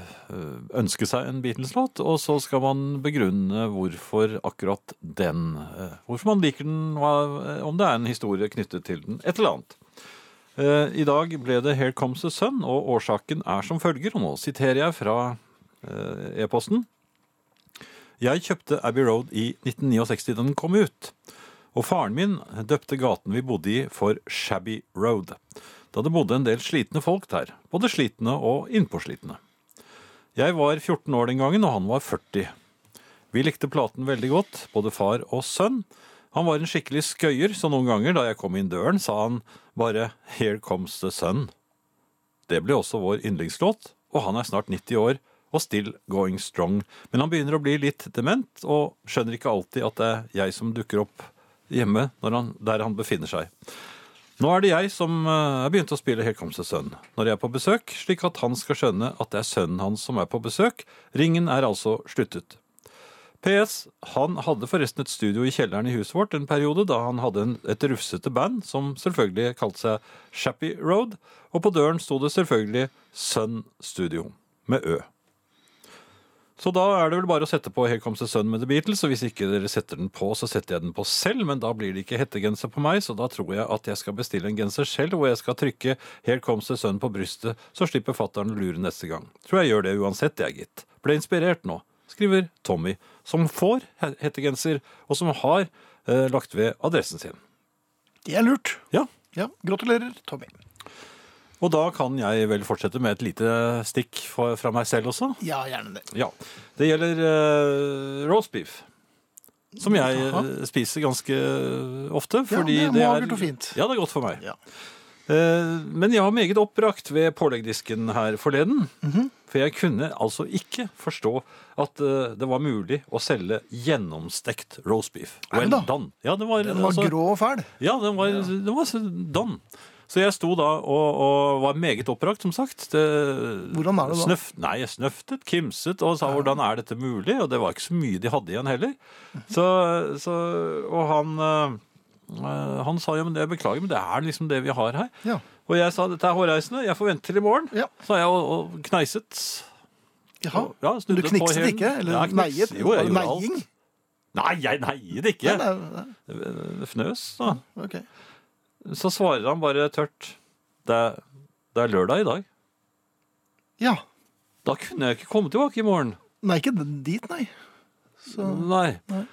ønske seg en Beatles-låt, og så skal man begrunne hvorfor akkurat den. eh, Hvorfor man liker den, hva- eh, om det er en historie knyttet til den, et eller annet. Eh, I dag ble det 'Here Comes the Sun', og årsaken er som følger, og nå siterer jeg fra eh, e-posten. Jeg kjøpte Abbey Road i 1969 da den kom ut, og faren min døpte gaten vi bodde i for Shabby Road da det bodde en del slitne folk der, både slitne og innpåslitne. Jeg var 14 år den gangen, og han var 40. Vi likte platen veldig godt, både far og sønn. Han var en skikkelig skøyer, så noen ganger da jeg kom inn døren, sa han bare 'Here comes the sun'. Det ble også vår yndlingslåt, og han er snart 90 år og still going strong. Men han begynner å bli litt dement, og skjønner ikke alltid at det er jeg som dukker opp hjemme når han, der han befinner seg. Nå er det jeg som eh, har begynt å spille Here Comes the Sun når jeg er på besøk, slik at han skal skjønne at det er sønnen hans som er på besøk. Ringen er altså sluttet. PS. Han hadde forresten et studio i kjelleren i huset vårt en periode da han hadde en, et rufsete band som selvfølgelig kalte seg Shappy Road, og på døren sto det selvfølgelig Sun Studio med Ø. Så da er det vel bare å sette på Here Comes the Sun med The Beatles, og hvis ikke dere setter den på, så setter jeg den på selv, men da blir det ikke hettegenser på meg, så da tror jeg at jeg skal bestille en genser selv, hvor jeg skal trykke Here Comes the Sun på brystet, så slipper fattern å lure neste gang. Tror jeg gjør det uansett, jeg, gitt. Ble inspirert nå, skriver Tommy, som får he- hettegenser, og som har eh, lagt ved adressen sin. Det er lurt. Ja, Ja, gratulerer, Tommy. og da kan jeg vel fortsette med et lite stikk fra fra meg selv også. Ja, gjerne det. Ja. Det gjelder eh, roast beef. Som jeg eh, spiser ganske eh, ofte. Fordi det er det er magert og fint. Ja, det er godt for meg. Ja. Eh, men jeg var meget oppbrakt ved påleggdisken her forleden. Mhm. For jeg kunne altså ikke forstå at eh, det var mulig å selge gjennomstekt roast beef. Er det da? done. Ja, det var, Den var altså- grå og fæl. ja, den var, den var så done. Så jeg sto da og, og var meget oppbrakt, som sagt. Det, Hvordan er det da? Snøff, nei, jeg snøftet, kimset og sa hvordan er dette mulig? Og det var ikke så mye de hadde igjen heller. Så, så, og han, eh, eh, han sa ja, men det beklager, men det er liksom det vi har her. Ja. Og jeg sa dette er hårreisende, jeg får vente til i morgen. Ja. Så jeg og, og kneiset. Jaha. Ja, snudde du på knikset hælen. ikke? Eller Ja, jeg kniks- neiet? Jo, Var det jeg gjorde alt. neiing? Nei, jeg neiet ikke. Nei, nei, nei. Fnøs, da. Ok. Så svarer han bare tørt det, er- det er lørdag i dag. Ja. Da kunne jeg ikke komme tilbake i morgen. Nei, ikke dit, nei. Så... Nei. Nei.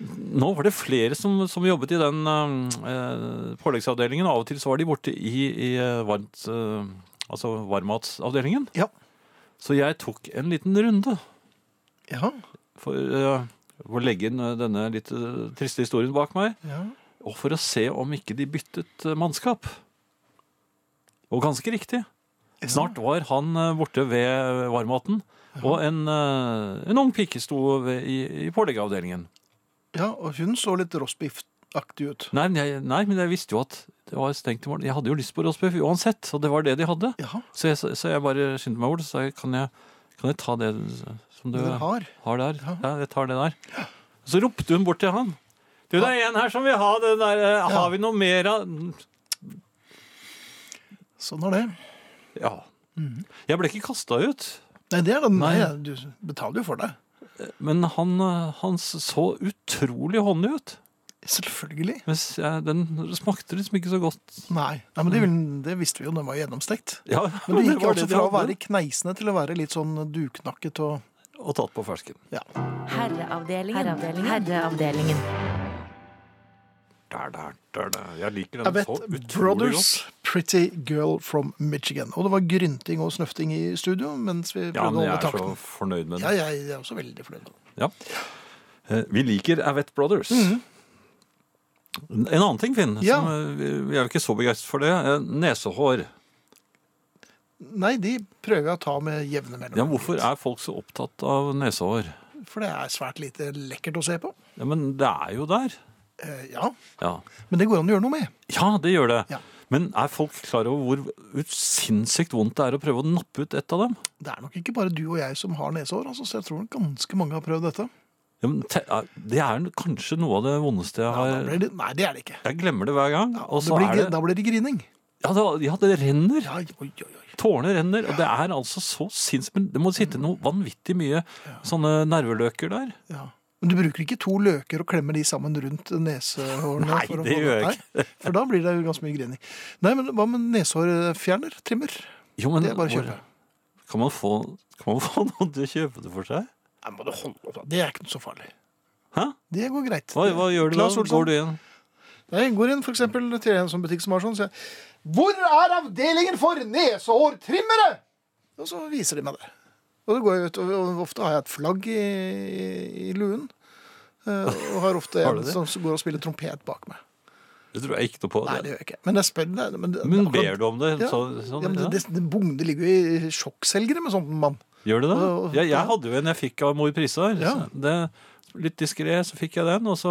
Nå var det flere som, som jobbet i den eh, påleggsavdelingen. Av og til så var de borte i, i eh, varmt, eh, altså varmmatsavdelingen. Ja. Så jeg tok en liten runde Ja. for eh, å legge inn eh, denne litt eh, triste historien bak meg. ja. Og for å se om ikke de byttet eh, mannskap. Og ganske riktig. Snart var han eh, borte ved varmaten, og en, eh, en ung pike sto ved, i, i påleggeavdelingen. Ja, og hun så litt rostbiff-aktig ut. Nei, men jeg- nei, men jeg visste jo at det var stengt i morgen. Jeg hadde jo lyst på roastbiff uansett, og det var det de hadde. Jaha, Så jeg, så jeg bare skyndte meg over og sa kan jeg, kan jeg ta det som du den har har. der? Ja. Ja, jeg tar det der. Så ropte hun bort til han. Du, det er en her som vil ha den der. eh, Har vi noe mer av Sånn er det. Ja. Jeg ble ikke kasta ut, Nei, det er den. Nei. Nei. du betaler jo for det. men han, eh, han så utrolig håndig ut. Selvfølgelig. Mens jeg, den smakte liksom ikke så godt. Nei, Nei men det, vil- det visste vi jo, den var gjennomstekt. Ja, Men det gikk var altså de fra å hadde, være kneisende til å være litt sånn duknakket og Og tatt på fersken. Ja. Herreavdelingen. Herreavdelingen. Herreavdelingen. Der, der, der, der. Jeg liker den så Abett utrolig godt. Brothers, Pretty Girl from Michigan. Og det var grynting og snøfting i studio mens vi prøvde Ja, men å jeg holde er så takten. fornøyd med Ja, den. jeg er også veldig fornøyd. Ja. Eh, Vi liker Avett Brothers. Mm. En annen ting, Finn, Mhm. Ja. som eh, vi vi er jo ikke så begeistret for det. eh, Nesehår. Nei, de prøver jeg å ta med jevne Ja, men mellomrom. hvorfor er folk så opptatt av nesehår? For det er svært lite lekkert å se på. Ja, men det er jo der. Eh, ja, Ja, men det går an å gjøre noe med. ja det gjør det. Ja. Men er folk klar over hvor ut- sinnssykt vondt det er å prøve å nappe ut ett av dem? Det er nok ikke bare du og jeg som har nesehår, altså, så jeg tror ganske mange har prøvd dette. Ja, men te, er- det er kanskje noe av det vondeste jeg Ja, da har blir det, nei, det er det ikke. Jeg glemmer det hver gang. Ja, Eh, Og det så blir, er det Da blir det grining. Ja, det, ja, det renner. Ja, oi, oi, oi. Tårene renner. Og det er altså så sinnssykt Men det må Mm. sitte noe vanvittig mye sånne nerveløker der. Ja. Men du bruker ikke to løker og klemmer de sammen rundt nesehårene? Nei, for å det få- gjør jeg Nei, For da blir det jo ganske mye grining. Nei, men hva med nesehårfjerner? Trimmer? Jo, men Det er bare å hvor- kjøpe. Kan man, få, kan man få noen til å kjøpe det for seg? Nei, må du holde opp, da. Det er ikke så farlig. Hæ? Det går greit. Hva, hva gjør du da? Claes Olsson? Går du inn? Nei, Jeg går inn for eksempel, til en sånn butikk som har sånn, sier jeg Hvor er avdelingen for nesehårtrimmere? Og så viser de meg det. Og det går jeg ut, og- og ofte har jeg et flagg i, i luen. eh, Og har ofte Har en du det? som går og spiller trompet bak meg. Det tror jeg ikke noe på. Nei, det gjør jeg ikke. Men jeg spør det, men, det- Men akkurat- ber du om det? Ja, Så, sånn, ja, men det, ja. det, det bugner ligger jo i sjokkselgere med sånn mann. Gjør det det? og- Jeg, ja. jeg hadde jo en jeg fikk av mor Prisar. Ja. Det- Litt diskré, så fikk jeg den, og så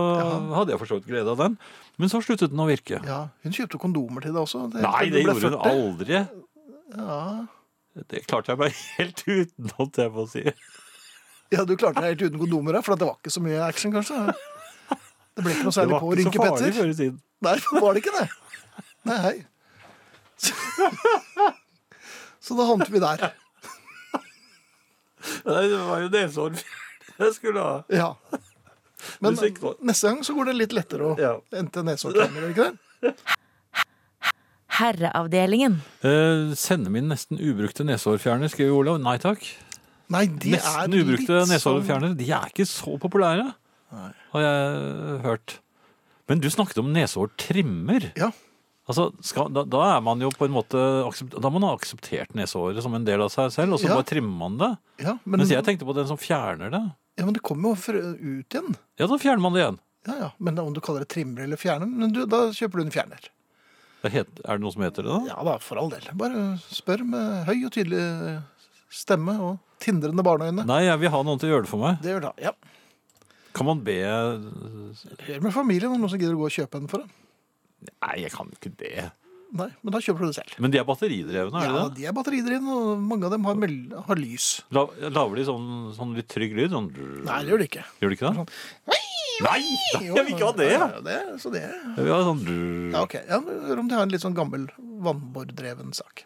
hadde jeg for så vidt glede av den. Men så sluttet den å virke. Ja, hun kjøpte kondomer til deg også. Det, Nei, du det ble gjorde hun 40. aldri. Ja. Det klarte jeg meg helt uten, holdt jeg på å si. ja, du klarte deg helt uten kondomer, ja, for det var ikke så mye action, kanskje. Det ble ikke noe særlig på å rynke Petter. før i tiden. Nei, var det ikke det? Nei, hei. Så da havnet vi der. Nei, det var jo nesehår jeg skulle ha. Ja. Men Du sikter på- neste gang så går det litt lettere å Ja. hente nesehårklemmer, gjør det ikke det? Herreavdelingen. Eh, sende min nesten ubrukte nesehårfjerner, skriver Olav. Nei takk. Nei, de nesten er ubrukte litt sånn nesehårfjernere, de er ikke så populære, Nei. har jeg hørt. Men du snakket om nesehårtrimmer. Ja. Altså, skal, da, da er man jo på en måte aksept, Da har man akseptert nesehåret som en del av seg selv, og så Ja. bare trimmer man det. Ja, men, Mens jeg tenkte på den som fjerner det. ja, men det kommer jo fra- ut igjen. Ja, da fjerner man det igjen. Ja, ja. Men om du kaller det trimmer eller fjerner, men du, da kjøper du en fjerner. Det het, er det noe som heter det, da? Ja da, for all del. Bare spør med høy og tydelig stemme og tindrende barneøyne. Nei, jeg vil ha noen til å gjøre det for meg. Det gjør da, ja. Kan man be Hør med familien om noen som gidder å gå og kjøpe en for deg. Nei, jeg kan ikke det. Nei, men da kjøper du det selv. Men de er batteridrevne, er de Ja, det? de er batteridrevne, og mange av dem har, mel- har lys. La, lager de sånn, sånn litt trygg lyd? Sånn, Nei, det gjør de ikke. Gjør de ikke det? Nei! Jeg vil ikke ha det! Ja, ja, det, er- så det er- Jeg vil ha sånn ja, ok. Ja, Hør om de har en litt sånn gammel, vannbordreven sak.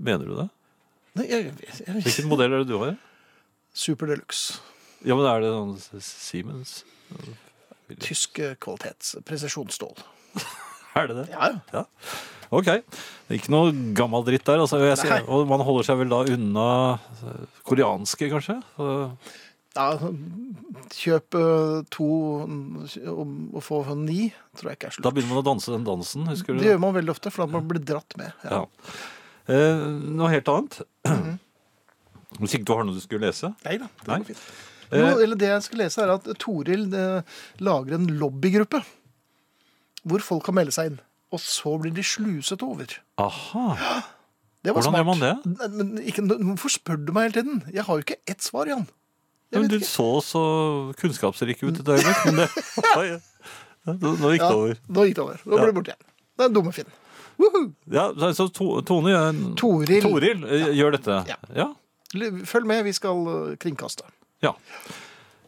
Mener du det? Nei, jeg, jeg, jeg, Hvilken modell er det du har? super deluxe. Ja, men Er det sånn Siemens? Tysk eh, kvalitets presisjonsstål. Er det det? Ja, ja. Ok. Det er ikke noe gammel dritt der. altså. Jeg sier, Nei. og man holder seg vel da unna eh, koreanske, kanskje? Eh, ja altså, kjøp eh, to mm, og, og få ni, tror jeg ikke er Da slutt. begynner man å danse den dansen, husker du? Det gjør man veldig ofte, for da man blir dratt med. Ja. Ja. Eh, noe helt annet. Hvis ikke du har noe du skulle lese? Nei da, det Nei. går fint. Jo, Eh, eller det jeg skal lese er at Toril eh, lager en lobbygruppe hvor folk kan melde seg inn. Og så blir de sluset over. Aha. Det var Hvordan gjør man smart. det? Nei, Men ikke, hvorfor spør du meg hele tiden? Jeg har jo ikke ett svar, Jan. Jeg Men vet du ikke. så så kunnskapsrik ut et øyeblikk, men det Oi, Nå gikk det Ja, over. nå gikk det over. Nå ble det borte igjen. Det er dumme Finn. Woohoo! Ja, så- så to, Tone gjør- Toril. Toril eh, gjør dette. Ja. Ja. L- Følg med, vi skal eh, kringkaste. ja.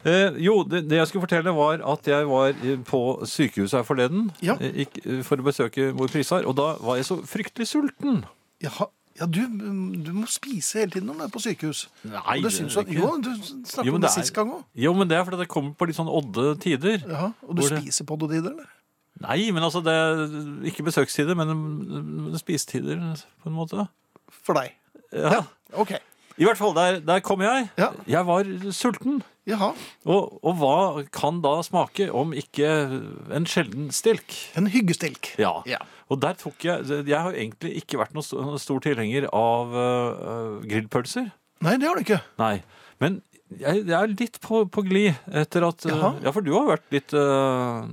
Eh, jo, det, det jeg skulle fortelle var at jeg var eh, på sykehuset her forleden Ja. eh, gikk, eh, for å besøke mor Prisar, og da var jeg så fryktelig sulten. Jaha. Ja, du, mm, du må spise hele tiden når du er på sykehus. Nei, og det det syns du gjør at, jeg jo, ikke. du snakket Jo, om men det det er- sist gang òg. Jo, men det er fordi det kommer på litt sånn odde tider. Og du Hvor det- spiser på det, eller? Nei, men altså, det er ikke besøkstider, men mm, spisetider på en måte. For deg. Ja. OK. I hvert fall, der, der kom jeg. Ja. Jeg var sulten. Jaha. Og, og hva kan da smake om ikke en sjelden stilk? En hyggestilk. Ja. Ja. Og der tok jeg Jeg har egentlig ikke vært noen st- stor tilhenger av øh, grillpølser. Nei, det har du ikke. Nei. Men jeg, jeg er litt på, på glid etter at øh, Jaha. Ja, for du har vært litt øh,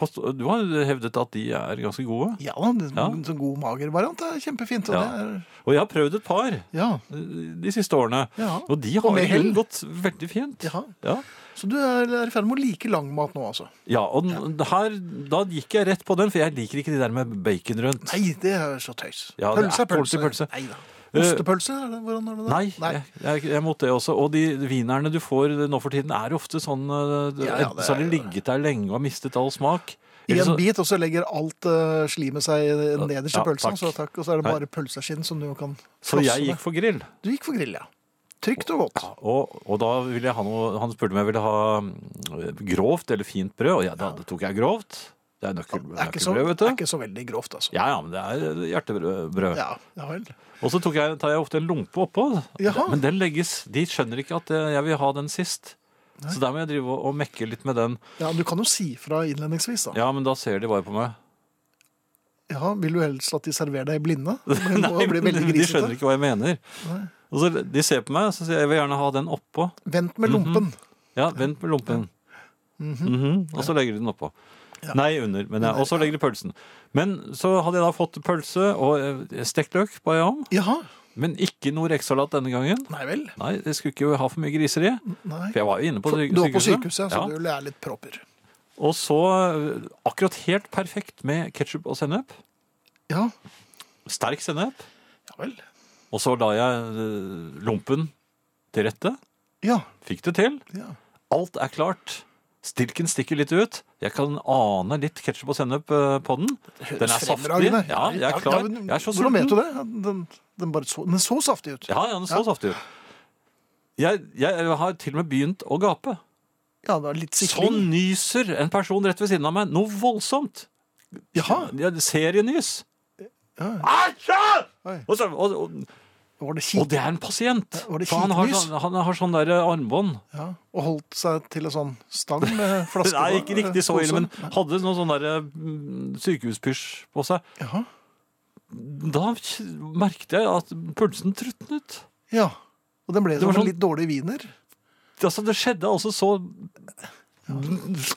Past- Du har hevdet at de er ganske gode. Ja, en Ja. sånn god mager variant er kjempefint. Og Ja. det er, Og jeg har prøvd et par eh, ja. de siste årene. Ja. Og de Og har med i hell. grunnen gått veldig fint. Ja. Ja. Så du er er i ferd med å like langmat nå, altså? Ja, og den- her, da gikk jeg rett på den, for jeg liker ikke de der med bacon rundt. Nei, det er så tøys. Ja, det pølse er er pølse. ordentlig pølse. Nei da. Eh, Ostepølse? Er det, hvordan er det? da? Nei, Jeg, jeg, jeg måtte det også. Og de vinerne du får nå for tiden, er ofte sånn Ja, eh, ja, Enten så har det de er- ligget der lenge og har mistet all smak. I eller en så- bit, og så legger alt eh, slimet seg nederst i Ja, pølsa. takk. Så takk, og så er det Nei. bare pølseskinn som du kan Så jeg flosse gikk for grill. med. Du gikk for grill, ja. Trygt og godt. Og, og da ville jeg ha noe Han spurte om jeg ville ha mm, grovt eller fint brød, og ja, da tok jeg grovt. Det er nøkkel, Det er ikke så, nøkkelbrød, vet det er du. ikke så veldig grovt, altså. Ja, ja, men det er hjertebrød. Ja, ja vel. Og så tok jeg, tar jeg ofte en lompe oppå. Jaha. Men den legges De skjønner ikke at eh, jeg vil ha den sist. Så der må jeg drive og, og mekke litt med den. Ja, du kan jo si fra innledningsvis, da. Ja. Ja, men da ser de bare på meg. Vil du helst at de serverer deg i blinde? Men Nei, blir men veldig de skjønner grisete. ikke hva jeg mener. Nei. Og så De ser på meg, så sier jeg jeg vil gjerne ha den oppå. Vent med lompen. Mhm. Ja, vent med lompen. Mhm, Og så legger de den oppå. Nei, under. Men jeg, og så legger de pølsen. Men så hadde jeg da fått pølse og eh, stekt løk, ba jeg om. Jaha. Men ikke noe rekesalat denne gangen. Nei vel. Nei, jeg skulle ikke ha for mye griseri. Nei. For jeg var jo inne på For, sykehuset. du var på sykehuset, ja, så Ja. du er litt proper. Og så eh, akkurat helt perfekt med ketsjup og sennep. Ja, Sterk sennep. ja vel. Og så la jeg eh, lompen til rette. Ja, Fikk det til. ja. Alt er klart. Stilken stikker litt ut. Jeg kan ane litt ketsjup og sennep eh, på den. Den er saftig. Fremragende. Ja, jeg er klar. men Jeg er så Hvordan vet du sulten. det? Den, den, bare så, den så saftig ut. Ja, ja, den så Ja. saftig ut. Jeg, jeg har til og med begynt å gape. Ja, det var litt Så sikring. nyser en person rett ved siden av meg. Noe voldsomt. Jaha. Ja, Serienys. Ja. Atsja! Oi. Og, så, og, og, Var det og kjipt? det er en pasient. Var det For han har skitnys? sånn, han har sånn der armbånd. Ja. Og holdt seg til en sånn stang med flaske Nei, på, ikke riktig så eh, ille, men posen. hadde noe sånn der mm, sykehuspysj på seg. Jaha. Da k- merket jeg at pulsen trutnet. Ja. Og den ble Det som var en sånn- litt dårlig wiener. Altså, det skjedde altså så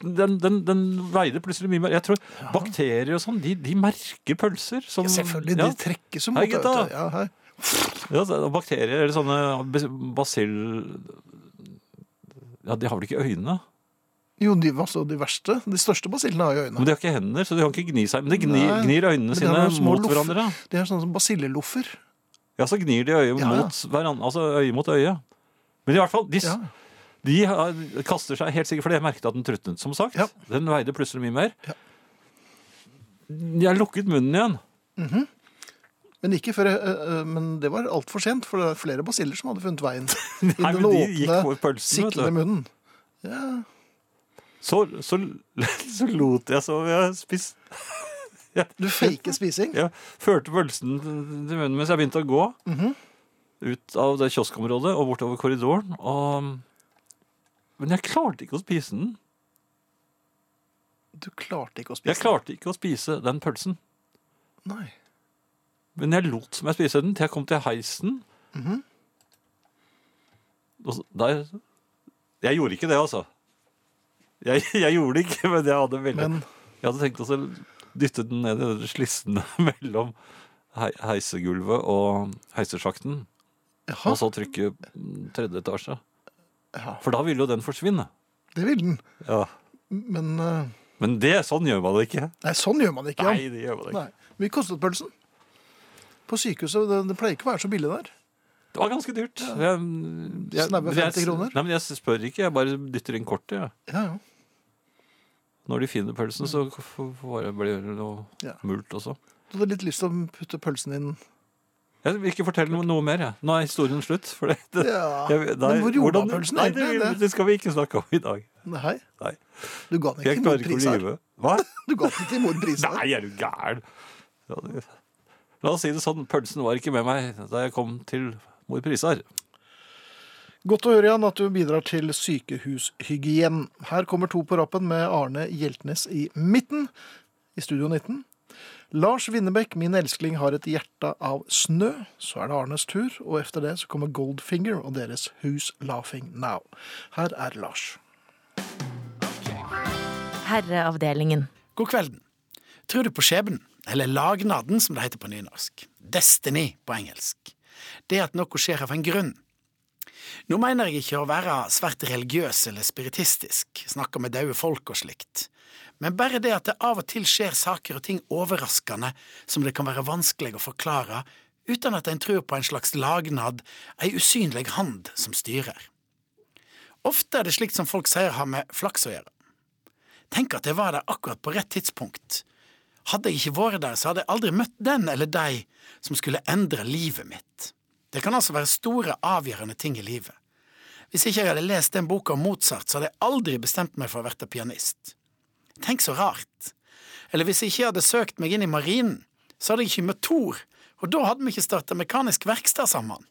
den, den, den veide plutselig mye mer. Jeg tror bakterier og sånn, de, de merker pølser. Som, Ja, selvfølgelig. Ja, De trekkes jo Hei, mot det, gutta. vet du. Ja, hei. ja, så- og bakterier eller sånne bas- basill... Ja, de har vel ikke øyne? Jo, de, altså, de verste. De største basillene har jo Men øynene. de har ikke hender, så de kan ikke gni seg. Men de gni, Nei, gnir men øynene de sine har jo små mot loffer. hverandre. De er sånne som basileloffer. Ja, så gnir de Ja, øyet ja. mot hverandre, altså øye mot øye. Men i hvert fall, de, s- Ja. de har- kaster seg helt sikkert, fordi jeg merket at den trutnet, som sagt. Ja. Den veide plutselig mye mer. Ja. Jeg lukket munnen igjen. Men ikke før, eh, eh, men det var altfor sent, for det var flere basiller som hadde funnet veien. Nei, I men den de gikk åpne, for pølsen, siklende vet du. munnen. Så, så, så lot jeg som jeg spiste. Du faker spising. Jeg førte pølsen til munnen mens jeg begynte å gå. Ut av det kioskområdet og bortover korridoren. Og... Men jeg klarte ikke å spise den. Du klarte ikke å spise Jeg klarte ikke å spise den pølsen. den. Nei. Men jeg lot som jeg spiste den til jeg kom til heisen. Og så- der Jeg gjorde ikke det, altså. Jeg, jeg gjorde det ikke, men jeg hadde veldig Men Jeg hadde tenkt å dytte den ned i den slissen mellom hei, heisegulvet og heisesjakten. jaha, Og så trykke mm, tredje etasje. Ja. For da ville jo den forsvinne. det ville den. Ja. Men eh, Men det, sånn gjør man det ikke. Nei, sånn gjør man ikke. Nei, Jan. det gjør man ikke. Nei. Mye kostet pølsen? På sykehuset, det, det pleier ikke å være så billig der. Det var ganske dyrt. Jeg, jeg, Snaue 50 kroner. Jeg, nei, men jeg spør ikke, jeg bare dytter inn kortet. jeg. Ja, ja. Når de finner pølsen, så f- f- får jeg- blir det noe Mm. Ja. mult også. Du hadde litt lyst til å putte pølsen inn. Jeg vil ikke fortelle noe, noe mer. Jeg. Nå er historien slutt. For det, det, Ja, jeg- men hvor gjorde han hvordan- pølsen Nei, egentlig, det, det? det skal vi ikke snakke om i dag. Nei, Nei, du ga den Jeg ikke noen klarer ikke pris å her. lyve. Hva? Du ga den ikke noen pris her. Nei, er du gæren? Ja, det- La oss si det sånn, pølsen var ikke med meg da jeg kom til Mor Prisar. Godt å høre, Jan, at du bidrar til sykehushygien. Her kommer to på rappen med Arne Hjeltnes i midten, i Studio 19. Lars Winnebekk, min elskling, har et hjerte av snø. Så er det Arnes tur, og efter det så kommer Goldfinger og deres Who's Laughing Now. Her er Lars. Herreavdelingen. God kvelden. Tror du på skjebnen, eller lagnaden som det heter på nynorsk, destiny på engelsk, det at noe skjer av en grunn. Nå mener jeg ikke å være svært religiøs eller spiritistisk, snakke med døde folk og slikt, men bare det at det av og til skjer saker og ting overraskende som det kan være vanskelig å forklare uten at en tror på en slags lagnad, ei usynlig hand som styrer. Ofte er det slikt som folk sier har med flaks å gjøre. Tenk at jeg var der akkurat på rett tidspunkt. Hadde jeg ikke vært der, så hadde jeg aldri møtt den eller de som skulle endre livet mitt. Det kan altså være store, avgjørende ting i livet. Hvis ikke jeg hadde lest den boka om Mozart, så hadde jeg aldri bestemt meg for å bli pianist. Tenk så rart. Eller hvis jeg ikke hadde søkt meg inn i marinen, så hadde jeg ikke møtt Thor, og da hadde vi ikke starta mekanisk verksted sammen.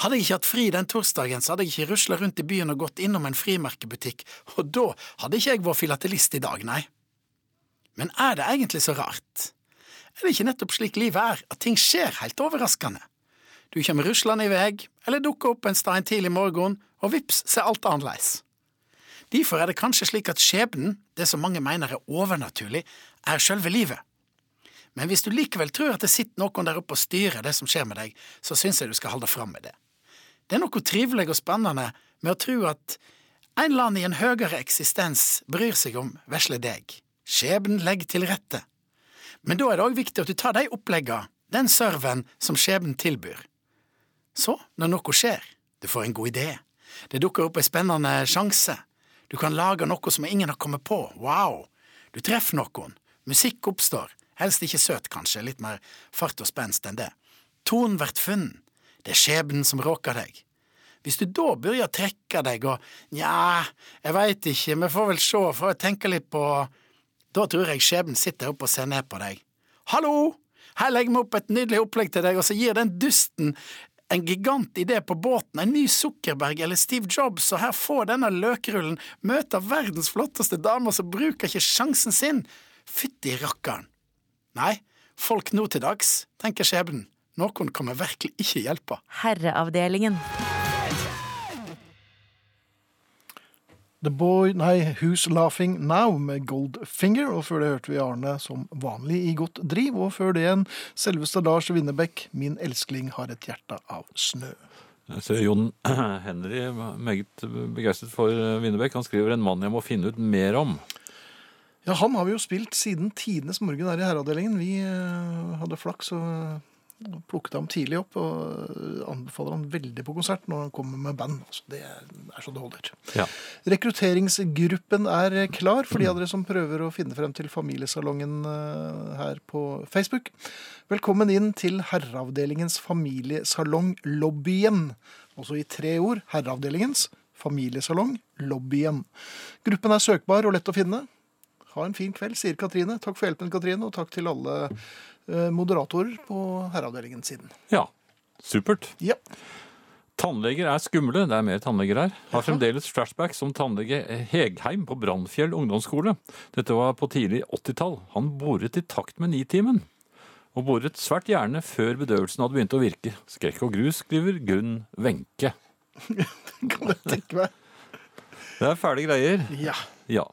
Hadde jeg ikke hatt fri den torsdagen, så hadde jeg ikke rusla rundt i byen og gått innom en frimerkebutikk, og da hadde ikke jeg vært filatelist i dag, nei. Men er det egentlig så rart? Er det ikke nettopp slik livet er, at ting skjer helt overraskende? Du kommer ruslende i vei, eller dukker opp en stein tidlig morgen, og vips, ser alt annerledes. Derfor er det kanskje slik at skjebnen, det som mange mener er overnaturlig, er sjølve livet. Men hvis du likevel tror at det sitter noen der oppe og styrer det som skjer med deg, så syns jeg du skal holde fram med det. Det er noe trivelig og spennende med å tro at en eller annen i en høyere eksistens bryr seg om vesle deg. Skjebnen legger til rette. Men da er det òg viktig at du tar de opplegga, den serven, som skjebnen tilbyr. Så, når noe skjer, du får en god idé. Det dukker opp en spennende sjanse. Du kan lage noe som ingen har kommet på. Wow! Du treffer noen. Musikk oppstår. Helst ikke søt, kanskje. Litt mer fart og spenst enn det. Tonen blir funnet. Det er skjebnen som råker deg. Hvis du da begynner å trekke deg og nja, jeg veit ikke, vi får vel se, får jeg tenke litt på Da tror jeg skjebnen sitter oppe og ser ned på deg. Hallo! Her legger vi opp et nydelig opplegg til deg, og så gir den dusten en gigantidé på båten, en ny Zuckerberg eller Steve Jobs, og her får denne løkrullen møte verdens flotteste damer som bruker ikke sjansen sin. Fytti rakkeren. Nei, folk nå til dags, tenker skjebnen. Noen kommer virkelig ikke hjelpe. Herreavdelingen. The Boy, nei, Who's Laughing Now med Goldfinger, og før det hørte vi Arne som vanlig i godt driv, og før det en selveste Lars Winnebekk, Min elskling har et hjerte av snø. Jeg ser Jon Henry var meget begeistret for Winnebekk. Han skriver 'En mann jeg må finne ut mer om'. Ja, han har vi jo spilt siden tidenes morgen her i herreavdelingen. Vi eh, hadde flaks og eh, plukket ham tidlig opp, og eh, anbefaler han veldig på konsert når han kommer med band. Altså, det er så det holder. Ja. Rekrutteringsgruppen er klar for de av dere som prøver å finne frem til Familiesalongen eh, her på Facebook. Velkommen inn til Herreavdelingens familiesalong-lobbyen. Også i tre ord. Herreavdelingens familiesalong-lobbyen. Gruppen er søkbar og lett å finne. Ha en fin kveld, sier Katrine. Takk for hjelpen, Katrine, og takk til alle eh, moderatorer på Herreavdelingen siden. ja. Supert. Ja. Tannleger er skumle. Det er mer tannleger her. Har fremdeles flashback som tannlege Hegheim på Brannfjell ungdomsskole. Dette var på tidlig 80-tall. Han boret i takt med nitimen. Og boret svært gjerne før bedøvelsen hadde begynt å virke. Skrekk og grus, skriver Gunn Wenche. Kan jeg tenke meg. Det er fæle greier. Ja. Ja.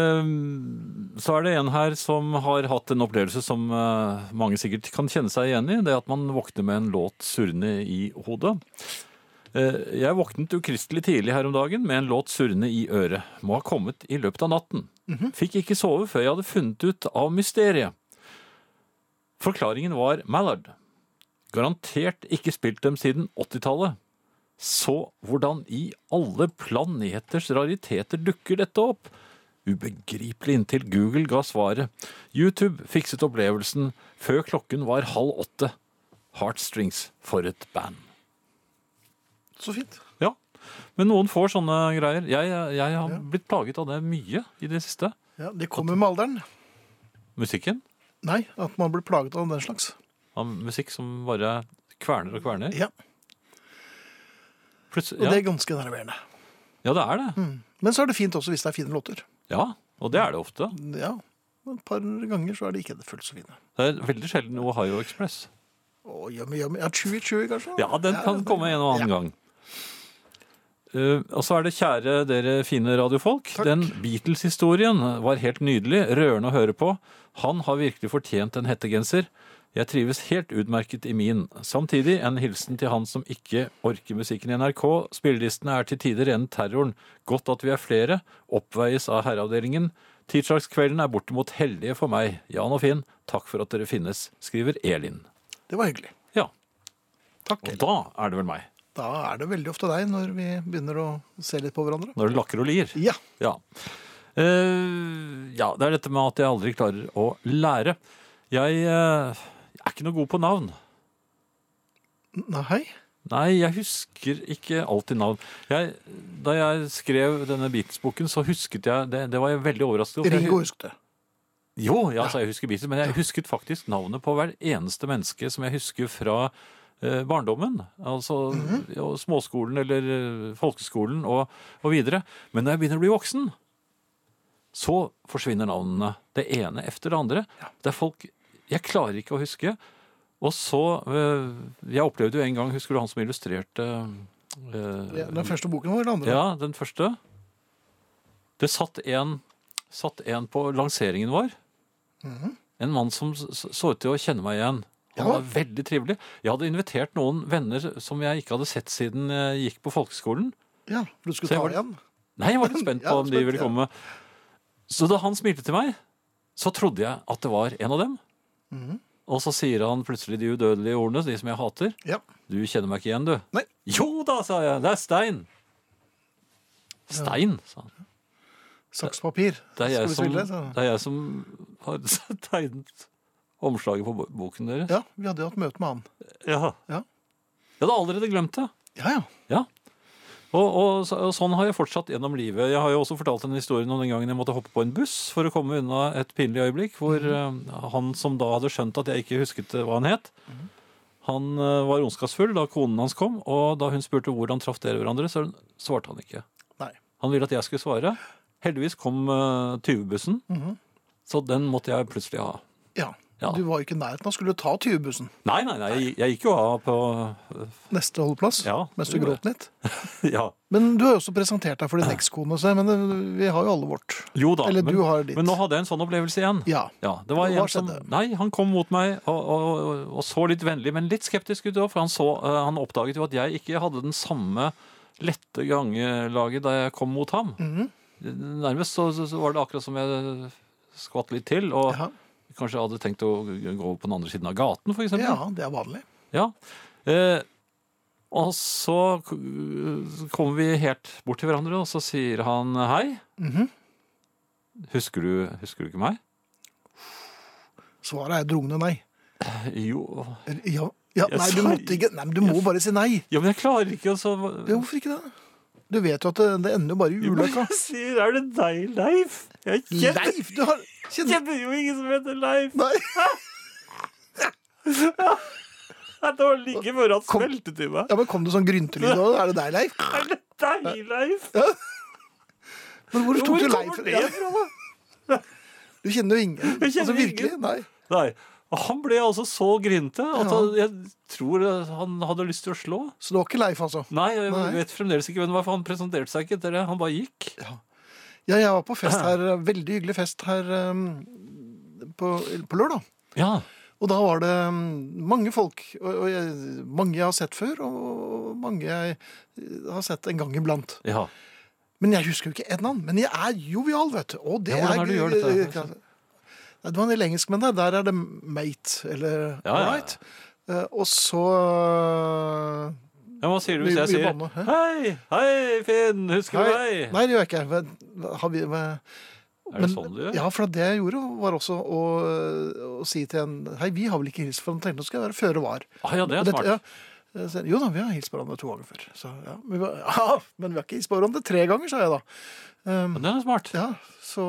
Ehm, Så er det en her som har hatt en opplevelse som eh, mange sikkert kan kjenne seg igjen i. Det er at man våkner med en låt surrende i hodet. Eh, Jeg våknet ukristelig tidlig her om dagen med en låt surrende i øret. Må ha kommet i løpet av natten. Fikk ikke sove før jeg hadde funnet ut av mysteriet. Forklaringen var Mallard. Garantert ikke spilt dem siden 80-tallet. Så hvordan i alle planeters rariteter dukker dette opp? Ubegripelig inntil Google ga svaret. YouTube fikset opplevelsen før klokken var halv åtte. Heartstrings for et band. Så fint. Ja, men noen får sånne greier. Jeg, jeg har blitt plaget av det mye i det siste. Ja, det kommer med alderen. Musikken. Nei, at man blir plaget av den slags. Av musikk som bare kverner og kverner. Ja, Plutselig, Og det Mm. ja. er ganske nerverende. ja, det er det. Men så er det fint også hvis det er fine låter. Ja, og det er det ofte. Ja, Et par ganger så er det ikke det fullt så fine. Det er veldig sjelden Ohio Express. Å, yummy, yummy. Ja, chewy, chewy, kanskje? Ja, den kan komme en og annen gang. Eh, og så er det kjære dere fine radiofolk. Den Beatles-historien var helt nydelig, rørende å høre på. Han har virkelig fortjent en hettegenser. Jeg trives helt utmerket i min. Samtidig en hilsen til han som ikke orker musikken i NRK. Spillelistene er til tider rene terroren. Godt at vi er flere. Oppveies av herreavdelingen. Tirsdagskvelden er bortimot hellige for meg. Jan og Finn, takk for at dere finnes, skriver Elin. Det var hyggelig. Ja, Takk. og da er det vel meg. Da er det veldig ofte deg når vi begynner å se litt på hverandre. Når det lakker og lir. Ja. Ja. Eh, ja, det er dette med at jeg aldri klarer å lære. Jeg eh, er ikke noe god på navn. Nei. Nei, jeg husker ikke alltid navn. Jeg, da jeg skrev denne Beatles-boken, så husket jeg Det, det var jeg veldig overrasket over. for jeg Ringo husket det. jo, ja, altså, jeg husker Beatles, men jeg husket faktisk navnet på hver eneste menneske som jeg husker fra eh, barndommen. Altså ja, småskolen eller eh, folkeskolen og, og videre. Men når jeg begynner å bli voksen, så forsvinner navnene. Det ene efter det andre. Det er folk jeg klarer ikke å huske. Og så eh, Jeg opplevde jo en gang, husker du han som illustrerte eh, Ja, Den første boken vår eller andre? ja, den første. Det satt en, satt en på lanseringen vår. En mann som s- s- så ut til å kjenne meg igjen. Han Mhm. Ja. var veldig trivelig. Jeg hadde invitert noen venner som jeg ikke hadde sett siden jeg gikk på folkeskolen. Ja, for du Så skulle jeg ta var- det igjen? Nei, jeg var litt spent på Ja, om de spent, ville ja. komme. Så da han smilte til meg, så trodde jeg at det var en av dem. Mhm. Og så sier han plutselig de udødelige ordene, de som jeg hater. Ja. Du kjenner meg ikke igjen, du. Nei. Jo da, sa jeg. Det er Stein. Stein, sa han. Sakspapir. Det er, Skal jeg vi som, spille, så? det er jeg som har tegnet omslaget på bo- boken deres. Ja, vi hadde jo hatt møte med han. Ja. Ja. Jeg hadde allerede glemt det. Ja, ja. Ja. Og, og, så- og sånn har jeg fortsatt gjennom livet. Jeg har jo også fortalt en historie om den gangen jeg måtte hoppe på en buss for å komme unna et pinlig øyeblikk, hvor Mhm. eh, han som da hadde skjønt at jeg ikke husket eh, hva han het, Mhm. han eh, var ondskapsfull da konen hans kom, og da hun spurte hvordan traff dere hverandre, så svarte han ikke. Nei. Han ville at jeg skulle svare. Heldigvis kom eh, 20-bussen, så den måtte jeg plutselig ha. Ja. Ja. Mhm. Du var jo ikke i nærheten av skulle ta 20-bussen. Nei, nei, nei, jeg, jeg gikk jo av på Neste holdeplass, Ja, mens det du gjorde gråt litt. Ja. Men du har jo også presentert deg for din ekskone, så- men det, vi har jo alle vårt. Jo da. Eller men, du har ditt. men nå hadde jeg en sånn opplevelse igjen. Ja. det Hva var en som, skjedde? nei, Han kom mot meg og, og, og, og så litt vennlig, men litt skeptisk ut. også, For han, så, eh, han oppdaget jo at jeg ikke hadde den samme lette gangelaget da jeg kom mot ham. Mhm. Nærmest så, så, så var det akkurat som jeg skvatt litt til. Og Ja. kanskje jeg hadde tenkt å gå på den andre siden av gaten, f.eks. ja, det er vanlig. Ja. Eh, og så k- kommer vi helt bort til hverandre, og så sier han hei. Mhm. husker, du, husker du ikke meg? Svaret er drungende nei. Jo Eller, Ja, ja, Jeg nei, du sa- måtte ikke Nei, men du må bare si nei. Ja, men jeg klarer ikke å så Ja, hvorfor ikke det? Du vet jo at det, det ender jo bare i Jo, men ulykka. jeg sier, Er det deg, Leif? Jeg kjenner, Leif, du har Kjenner kjenner jo ingen som heter Leif. Nei. Det var like før han Kom. smelte til meg. Ja, men Kom det sånn gryntelyd òg? Er det deg, Leif? Er det deg, Leif? Men hvor tok Hvor du Leif? kommer det fra? Du kjenner jo ingen. Jeg kjenner altså virkelig, ingen. nei. Nei. Og Han ble altså så grinte at Ja. han, jeg tror han hadde lyst til å slå. Så det var ikke Leif, altså? Nei, jeg Nei. vet fremdeles ikke hvem det var, for han presenterte seg ikke etter det. Han bare gikk. Ja, jeg var på fest her, veldig hyggelig fest her um, på, på lørdag. Ja. Og da var det um, mange folk, og, og jeg, mange jeg har sett før, og mange jeg eh, har sett en gang iblant. ja. Men jeg husker jo ikke en navn. Men jeg er jovial, vet du. Og det Ja, er hvordan er det du gjør dette? Nei, Det var en del engelskmenn der. Der er det mate, eller Ja, ja. alright. Eh, Og så ja hva sier du hvis Mye- mye jeg sier banne, hæ? Hei, hei, Finn, husker du Nei, meg? nei, det gjør jeg ikke. Hva- hva- Har vi, hva, Er det sånn du gjør? Ja, for det jeg gjorde, var også å, å si til en Hei, vi har vel ikke hilst hverandre? Nå skal jeg være føre var. Ah, ja, det er Og dette- smart. ja. Så jeg, Jo da, vi har hilst hverandre to ganger før. Så, ja. Men, vi, var- ja, men vi har ikke hilst hverandre tre ganger, sa jeg da. Men Den er smart. Ja, så,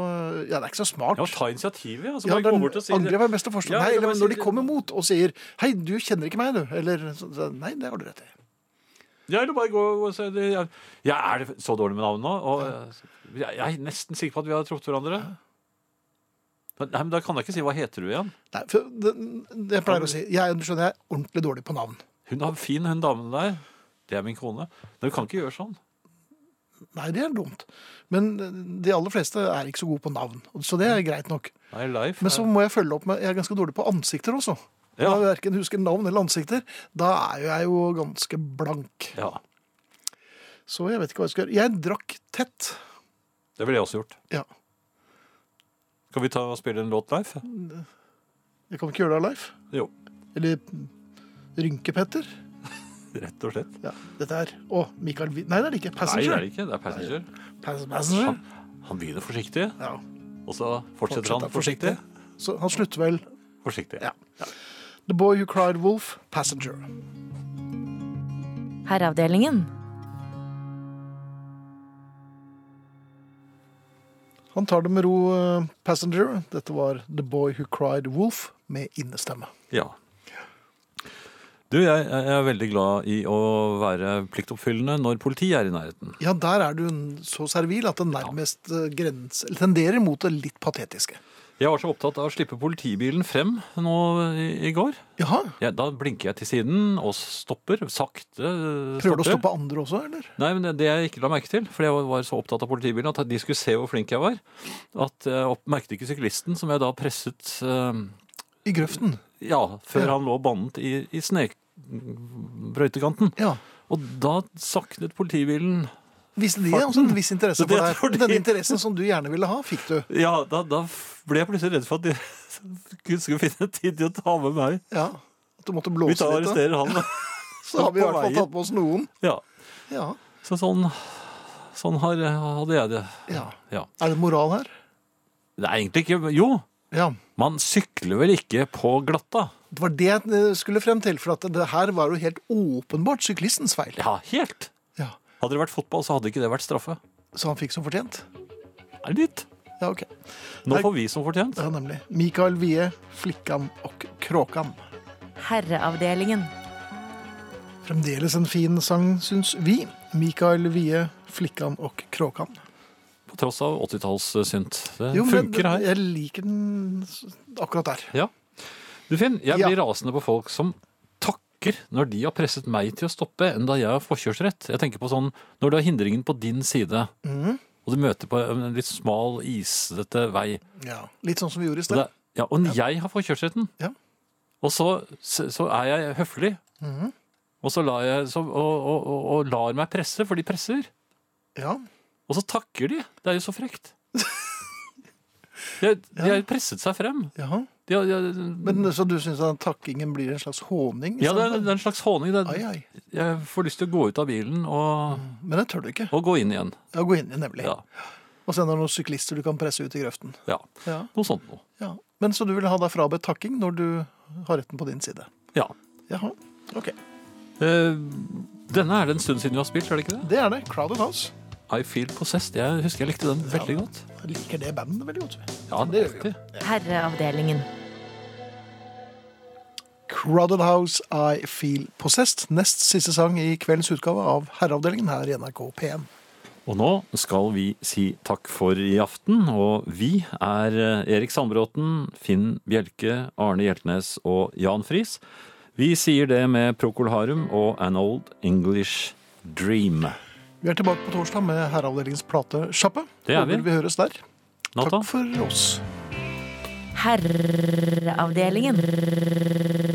ja, det er ikke så smart. Ja, ta initiativet, ja. Så Ja, bare gå den bort og si angrep er best å forstå. Ja, nei, eller eller, bare men si når de det- kommer mot og sier 'hei, du kjenner ikke meg', du. Eller så, så, Nei, det har du rett i. Ja, eller bare gå og si det. Jeg, jeg er det så dårlig med navn nå, og eh, jeg, jeg er nesten sikker på at vi har truffet hverandre. Men- Nei, men Da kan jeg ikke si 'hva heter du' igjen. Nei, for det, det jeg pleier å si. Jeg du skjønner, jeg er ordentlig dårlig på navn. Hun er fin, hun damen der. Det er min kone. Men du kan ikke gjøre sånn. Nei, det er dumt. Men de aller fleste er ikke så gode på navn, så det er greit nok. Nei, Leif. Men så må jeg følge opp med Jeg er ganske dårlig på ansikter også. Ja. Da jeg verken husker navn eller ansikter. Da er jo jeg jo ganske blank. Ja, Så jeg vet ikke hva jeg skal gjøre. Jeg drakk tett. det ville jeg også gjort. Ja. Skal vi ta og spille en låt, Leif? Jeg kan ikke gjøre det, Leif. Jo, Eller Rynke-Petter. rett og slett. Ja, dette er Å, Michael Vi... Nei, det er det ikke. Nei, det er Passenger. det ikke. Det er Passenger. Pass- Passenger. Han, han begynner forsiktig, Ja. og så fortsetter han forsiktig. Fortsetter Så han slutter vel Forsiktig. Ja. The Boy Who Cried Wolf, Passenger. Herreavdelingen. Han tar det med ro, eh, Passenger. Dette var The Boy Who Cried Wolf med innestemme. Ja. Du, jeg, jeg er veldig glad i å være pliktoppfyllende når politiet er i nærheten. Ja, der er du n- så servil at det nærmest eh, grens, eller tenderer mot det litt patetiske. Jeg var så opptatt av å slippe politibilen frem nå i, i går. Jaha. Ja, da blinker jeg til siden og stopper. Sakte eh, stopper. Prøver du å stoppe andre også, eller? Nei, men det, det jeg ikke la merke til, fordi jeg var- var så opptatt av politibilen, at de skulle se hvor flink jeg var, at jeg opp, merket ikke syklisten som jeg da presset eh, I grøften. Ja, før Ja. han lå bandet i, i snebrøytekanten. Ja. Og da saknet politibilen Viste de også en viss interesse Det for tror deg? de. Denne interessen som du gjerne ville ha, fikk du. Ja, da, da ble jeg plutselig redd for at de Gud skulle finne tid til å ta med meg. Ja. At du måtte Vi blåse tar og litt. da. arresterer han. Så har vi i på hvert fall veien. tatt med oss noen. Ja, Ja. så sånn, sånn har, hadde jeg det. ja. Ja. Er det moral her? Det er egentlig ikke Jo, Ja. man sykler vel ikke på glatta? Det var det jeg eh, skulle frem til, for at det her var jo helt åpenbart syklistens feil. Ja, helt. Ja. Hadde det vært fotball, så hadde ikke det vært straffe. Så han fikk som fortjent? Nei, Litt. Ja, ok. Nå får vi som fortjent. Ja, nemlig. Mikael Wie, Flikkan og Kråkan. Herreavdelingen. Fremdeles en fin sang, syns vi. Mikael Wie, Flikkan og Kråkan. På tross av 80-tallssynt. Det Jo, men funker her. Jeg liker den s- akkurat der. Ja. Du Finn, jeg Ja. blir rasende på folk som takker når de har presset meg til å stoppe, enn da jeg har forkjørsrett. Jeg tenker på sånn, når du har hindringen på din side, Mhm. og du møter på en litt smal, isete vei, Ja. Litt sånn som vi gjorde i og, sted. det, ja, og jeg har forkjørsretten, Ja. og så, så så er jeg høflig, Mhm. og så lar jeg, så, og, og, og, og lar meg presse, for de presser, Ja. og så takker de. Det er jo så frekt. De, de har jo presset seg frem. Jaha. De, har- de, har- Men Så du syns takkingen blir en slags håning? ja, det er, det er en slags håning. Det, er- Ai, ai. Jeg får lyst til å gå ut av bilen og, Men det tør du ikke. og gå inn igjen. Ja, Gå inn i, nemlig. Mm. Ja, Og så er det noen syklister du kan presse ut i grøften. ja. Ja. Noe sånt noe. ja. Men Så du vil ha deg frabedt takking når du har retten på din side? Ja. Jaha. Ok. Eh, denne er det en stund siden vi har spilt, er det ikke det? Det er det. Crowded House. I Feel Possessed. Jeg husker jeg likte den veldig godt. Jeg liker det bandet veldig godt. Ja, det gjør vi. Herreavdelingen. Crowded House, I Feel Possessed. Nest siste sang i kveldens utgave av Herreavdelingen her i NRK P1. Og nå skal vi si takk for i aften. Og vi er eh, Erik Sandbråten, Finn Bjelke, Arne Hjeltnes og Jan Friis. Vi sier det med Procol Harum og An Old English Dream. Vi er tilbake på torsdag med Herreavdelingens platesjappe. Det er vi. Håper vi høres der. Natta. Takk for oss. Herreavdelingen.